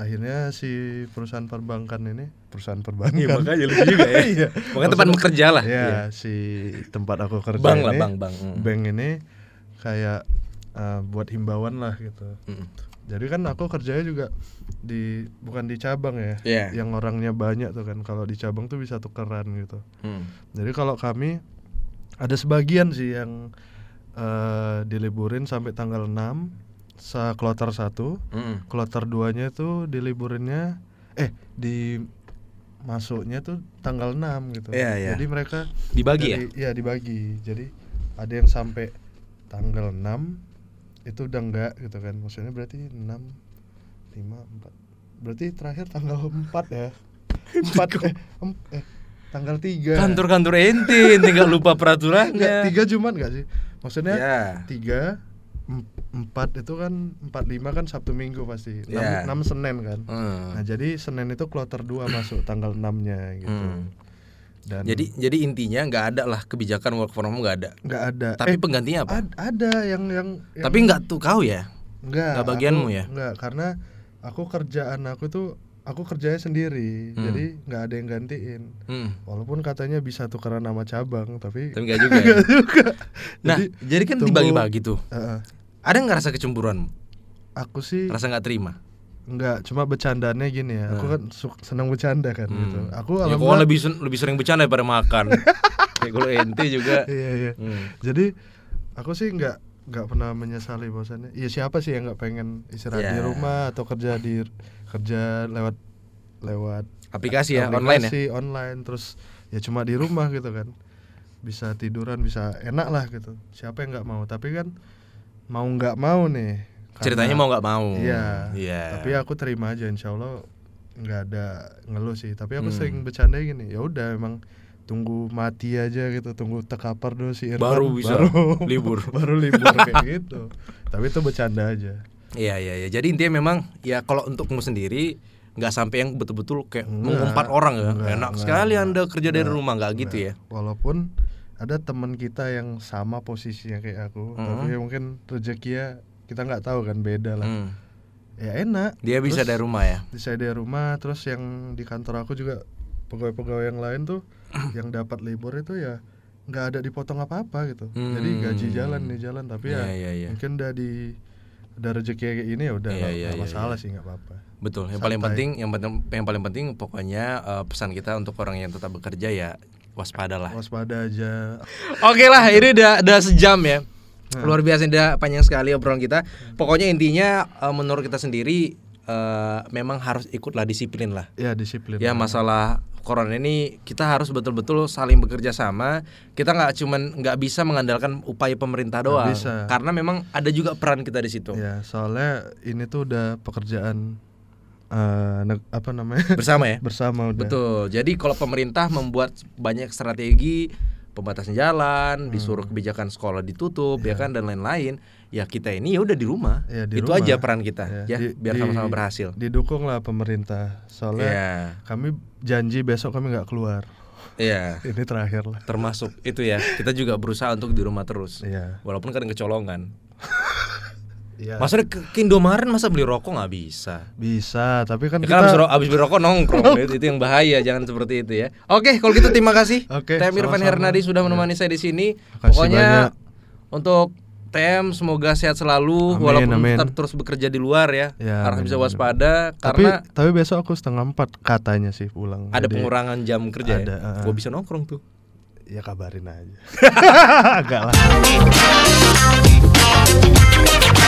[SPEAKER 2] Akhirnya si perusahaan perbankan ini, perusahaan perbankan.
[SPEAKER 1] Iya makanya lucu juga ya.
[SPEAKER 2] Iya.
[SPEAKER 1] Makanya tempat bekerja lah.
[SPEAKER 2] ya
[SPEAKER 1] Iya.
[SPEAKER 2] si tempat aku kerja
[SPEAKER 1] Bank
[SPEAKER 2] ini,
[SPEAKER 1] lah, bank, bank. Mm.
[SPEAKER 2] bank ini kayak eh, buat himbauan lah gitu
[SPEAKER 1] Mm-mm.
[SPEAKER 2] jadi kan aku kerjanya juga di bukan di cabang ya
[SPEAKER 1] Iya.
[SPEAKER 2] yang orangnya banyak tuh kan kalau di cabang tuh bisa tukeran gitu
[SPEAKER 1] Hmm.
[SPEAKER 2] jadi kalau kami ada sebagian sih yang eh, diliburin sampai tanggal 6 sa kloter 1
[SPEAKER 1] Mm-mm.
[SPEAKER 2] kloter 2-nya tuh diliburinnya eh di masuknya tuh tanggal 6 gitu.
[SPEAKER 1] Iya, iya.
[SPEAKER 2] Jadi mereka
[SPEAKER 1] Dibagi ya?
[SPEAKER 2] dari- Iya, dibagi. Jadi ada yang sampai tanggal 6 itu udah enggak gitu kan. Maksudnya berarti 6 5 4. Berarti terakhir tanggal 4 ya. 4 eh, em- eh, tanggal 3.
[SPEAKER 1] Kantor-kantor ente, ente nggak lupa
[SPEAKER 2] Enggak,
[SPEAKER 1] peraturannya. Iya.
[SPEAKER 2] 3 Jumat enggak sih? Maksudnya
[SPEAKER 1] Ya.
[SPEAKER 2] 3 4 itu kan 4 5 kan Sabtu Minggu pasti. 6
[SPEAKER 1] Iya.
[SPEAKER 2] Senin kan.
[SPEAKER 1] Hmm.
[SPEAKER 2] Nah, jadi Senin itu kloter 2 masuk tanggal 6-nya gitu.
[SPEAKER 1] Hmm.
[SPEAKER 2] Dan
[SPEAKER 1] Jadi jadi intinya nggak ada lah kebijakan work from home nggak ada.
[SPEAKER 2] nggak ada.
[SPEAKER 1] Tapi
[SPEAKER 2] Eh,
[SPEAKER 1] penggantinya apa?
[SPEAKER 2] ad- ada yang yang, yang
[SPEAKER 1] Tapi nggak tuh kau ya.
[SPEAKER 2] Enggak.
[SPEAKER 1] Nggak bagianmu
[SPEAKER 2] aku-
[SPEAKER 1] ya?
[SPEAKER 2] Enggak, karena aku kerjaan aku tuh aku kerjanya sendiri,
[SPEAKER 1] Hmm.
[SPEAKER 2] jadi nggak ada yang gantiin.
[SPEAKER 1] Hmm.
[SPEAKER 2] Walaupun katanya bisa tukeran nama cabang, tapi
[SPEAKER 1] Tapi nggak juga. ya? Nah,
[SPEAKER 2] Jadi,
[SPEAKER 1] jadi, kan
[SPEAKER 2] tunggu-
[SPEAKER 1] dibagi-bagi tuh.
[SPEAKER 2] Heeh.
[SPEAKER 1] Ada nggak rasa kecemburuan?
[SPEAKER 2] aku sih
[SPEAKER 1] Rasa nggak terima?
[SPEAKER 2] enggak, cuma bercandanya gini ya. Aku
[SPEAKER 1] Nah.
[SPEAKER 2] kan su- senang bercanda kan
[SPEAKER 1] Hmm.
[SPEAKER 2] gitu. Aku
[SPEAKER 1] ya, kok
[SPEAKER 2] alhamdulillah-
[SPEAKER 1] lebih sen- lebih sering bercanda daripada makan. Kayak kalau ente juga.
[SPEAKER 2] Iya, iya.
[SPEAKER 1] Hmm.
[SPEAKER 2] Jadi aku sih nggak nggak pernah menyesali bahwasannya Iya siapa sih yang nggak pengen istirahat di
[SPEAKER 1] Ya.
[SPEAKER 2] rumah atau kerja di kerja lewat lewat
[SPEAKER 1] Aplikasi ya online ya.
[SPEAKER 2] aplikasi, online terus ya cuma di rumah gitu kan bisa tiduran bisa enak lah gitu siapa yang nggak mau tapi kan mau nggak mau nih karena-
[SPEAKER 1] Ceritanya mau nggak mau.
[SPEAKER 2] iya
[SPEAKER 1] Iya.
[SPEAKER 2] tapi aku terima aja insya Allah nggak ada ngeluh sih tapi aku
[SPEAKER 1] Hmm.
[SPEAKER 2] sering bercanda gini ya udah emang tunggu mati aja gitu tunggu tekapar dulu si Irfan
[SPEAKER 1] Baru bisa
[SPEAKER 2] baru
[SPEAKER 1] libur.
[SPEAKER 2] baru libur kayak gitu tapi itu bercanda aja
[SPEAKER 1] Iya iya iya. Jadi intinya memang ya kalau untukmu sendiri nggak sampai yang betul-betul kayak
[SPEAKER 2] Nggak,
[SPEAKER 1] mengumpat orang ya.
[SPEAKER 2] nggak,
[SPEAKER 1] Enak
[SPEAKER 2] nggak,
[SPEAKER 1] sekali
[SPEAKER 2] nggak,
[SPEAKER 1] Anda kerja dari
[SPEAKER 2] nggak,
[SPEAKER 1] rumah nggak gitu ya.
[SPEAKER 2] Nah, Walaupun ada teman kita yang sama posisinya kayak aku,
[SPEAKER 1] Mm-mm.
[SPEAKER 2] tapi ya mungkin rezekinya kita nggak tahu kan beda lah.
[SPEAKER 1] Hmm.
[SPEAKER 2] Ya enak.
[SPEAKER 1] Dia bisa dari
[SPEAKER 2] Terus
[SPEAKER 1] rumah ya.
[SPEAKER 2] Bisa dari rumah, terus yang di kantor aku juga pegawai-pegawai yang lain tuh
[SPEAKER 1] Hmm.
[SPEAKER 2] yang dapat libur itu ya nggak ada dipotong apa-apa gitu. Jadi
[SPEAKER 1] Hmm.
[SPEAKER 2] gaji jalan nih jalan, tapi
[SPEAKER 1] Iya
[SPEAKER 2] ya
[SPEAKER 1] iya iya.
[SPEAKER 2] mungkin udah di udah rezeki kayak gini ya udah
[SPEAKER 1] Iya,
[SPEAKER 2] nggak
[SPEAKER 1] iya, iya,
[SPEAKER 2] nggak masalah sih nggak apa-apa.
[SPEAKER 1] Betul. Yang
[SPEAKER 2] Santai.
[SPEAKER 1] paling penting, yang penting, yang paling penting pokoknya eh, pesan kita untuk orang yang tetap bekerja ya waspadalah.
[SPEAKER 2] Waspada aja.
[SPEAKER 1] Oke lah, ini udah udah sejam ya.
[SPEAKER 2] Hmm.
[SPEAKER 1] Luar biasa ini udah panjang sekali obrolan kita. Pokoknya intinya eh, menurut kita sendiri eh, memang harus ikutlah disiplin lah.
[SPEAKER 2] Ya disiplin.
[SPEAKER 1] Ya masalah corona ini kita harus betul-betul saling bekerja sama. Kita nggak cuman nggak bisa mengandalkan upaya pemerintah doang.
[SPEAKER 2] bisa.
[SPEAKER 1] Karena memang ada juga peran kita di situ.
[SPEAKER 2] Ya, soalnya ini tuh udah pekerjaan eh, neg- apa namanya?
[SPEAKER 1] Bersama ya.
[SPEAKER 2] bersama udah.
[SPEAKER 1] Betul. Jadi kalau pemerintah membuat banyak strategi pembatasan jalan,
[SPEAKER 2] Hmm.
[SPEAKER 1] disuruh kebijakan sekolah ditutup, ya kan dan lain-lain, ya kita ini ya udah di rumah.
[SPEAKER 2] Ya, Iya. di
[SPEAKER 1] Itu
[SPEAKER 2] rumah.
[SPEAKER 1] aja peran kita, ya,
[SPEAKER 2] Ya, di-
[SPEAKER 1] biar
[SPEAKER 2] di-
[SPEAKER 1] sama-sama berhasil.
[SPEAKER 2] Didukung lah pemerintah. Soalnya
[SPEAKER 1] Iya,
[SPEAKER 2] kami janji besok kami nggak keluar.
[SPEAKER 1] iya.
[SPEAKER 2] Ini terakhir lah.
[SPEAKER 1] Termasuk itu ya, kita juga berusaha untuk di rumah terus,
[SPEAKER 2] Iya.
[SPEAKER 1] walaupun kadang kecolongan.
[SPEAKER 2] Iya.
[SPEAKER 1] Maksudnya ke, ke Indomaret masa beli rokok nggak bisa?
[SPEAKER 2] Bisa, tapi kan
[SPEAKER 1] Ya
[SPEAKER 2] kita
[SPEAKER 1] kan abis, ro- abis beli rokok nongkrong, itu, itu yang bahaya, jangan seperti itu ya. Oke, kalau gitu terima kasih.
[SPEAKER 2] Oke,
[SPEAKER 1] TM Irfan
[SPEAKER 2] sama-sama. Iya.
[SPEAKER 1] Hernadi sudah menemani saya di sini.
[SPEAKER 2] Makasih
[SPEAKER 1] Pokoknya untuk TM semoga sehat selalu
[SPEAKER 2] Amin,
[SPEAKER 1] walaupun
[SPEAKER 2] amin.
[SPEAKER 1] tetap terus bekerja di luar ya.
[SPEAKER 2] Ya,
[SPEAKER 1] harus
[SPEAKER 2] amin,
[SPEAKER 1] bisa
[SPEAKER 2] amin.
[SPEAKER 1] waspada
[SPEAKER 2] tapi
[SPEAKER 1] karena
[SPEAKER 2] tapi besok aku setengah empat katanya sih pulang.
[SPEAKER 1] ada
[SPEAKER 2] Jadi,
[SPEAKER 1] pengurangan jam kerja
[SPEAKER 2] ada,
[SPEAKER 1] ya.
[SPEAKER 2] uh.
[SPEAKER 1] Gua bisa nongkrong tuh.
[SPEAKER 2] Ya kabarin aja. Agak lah.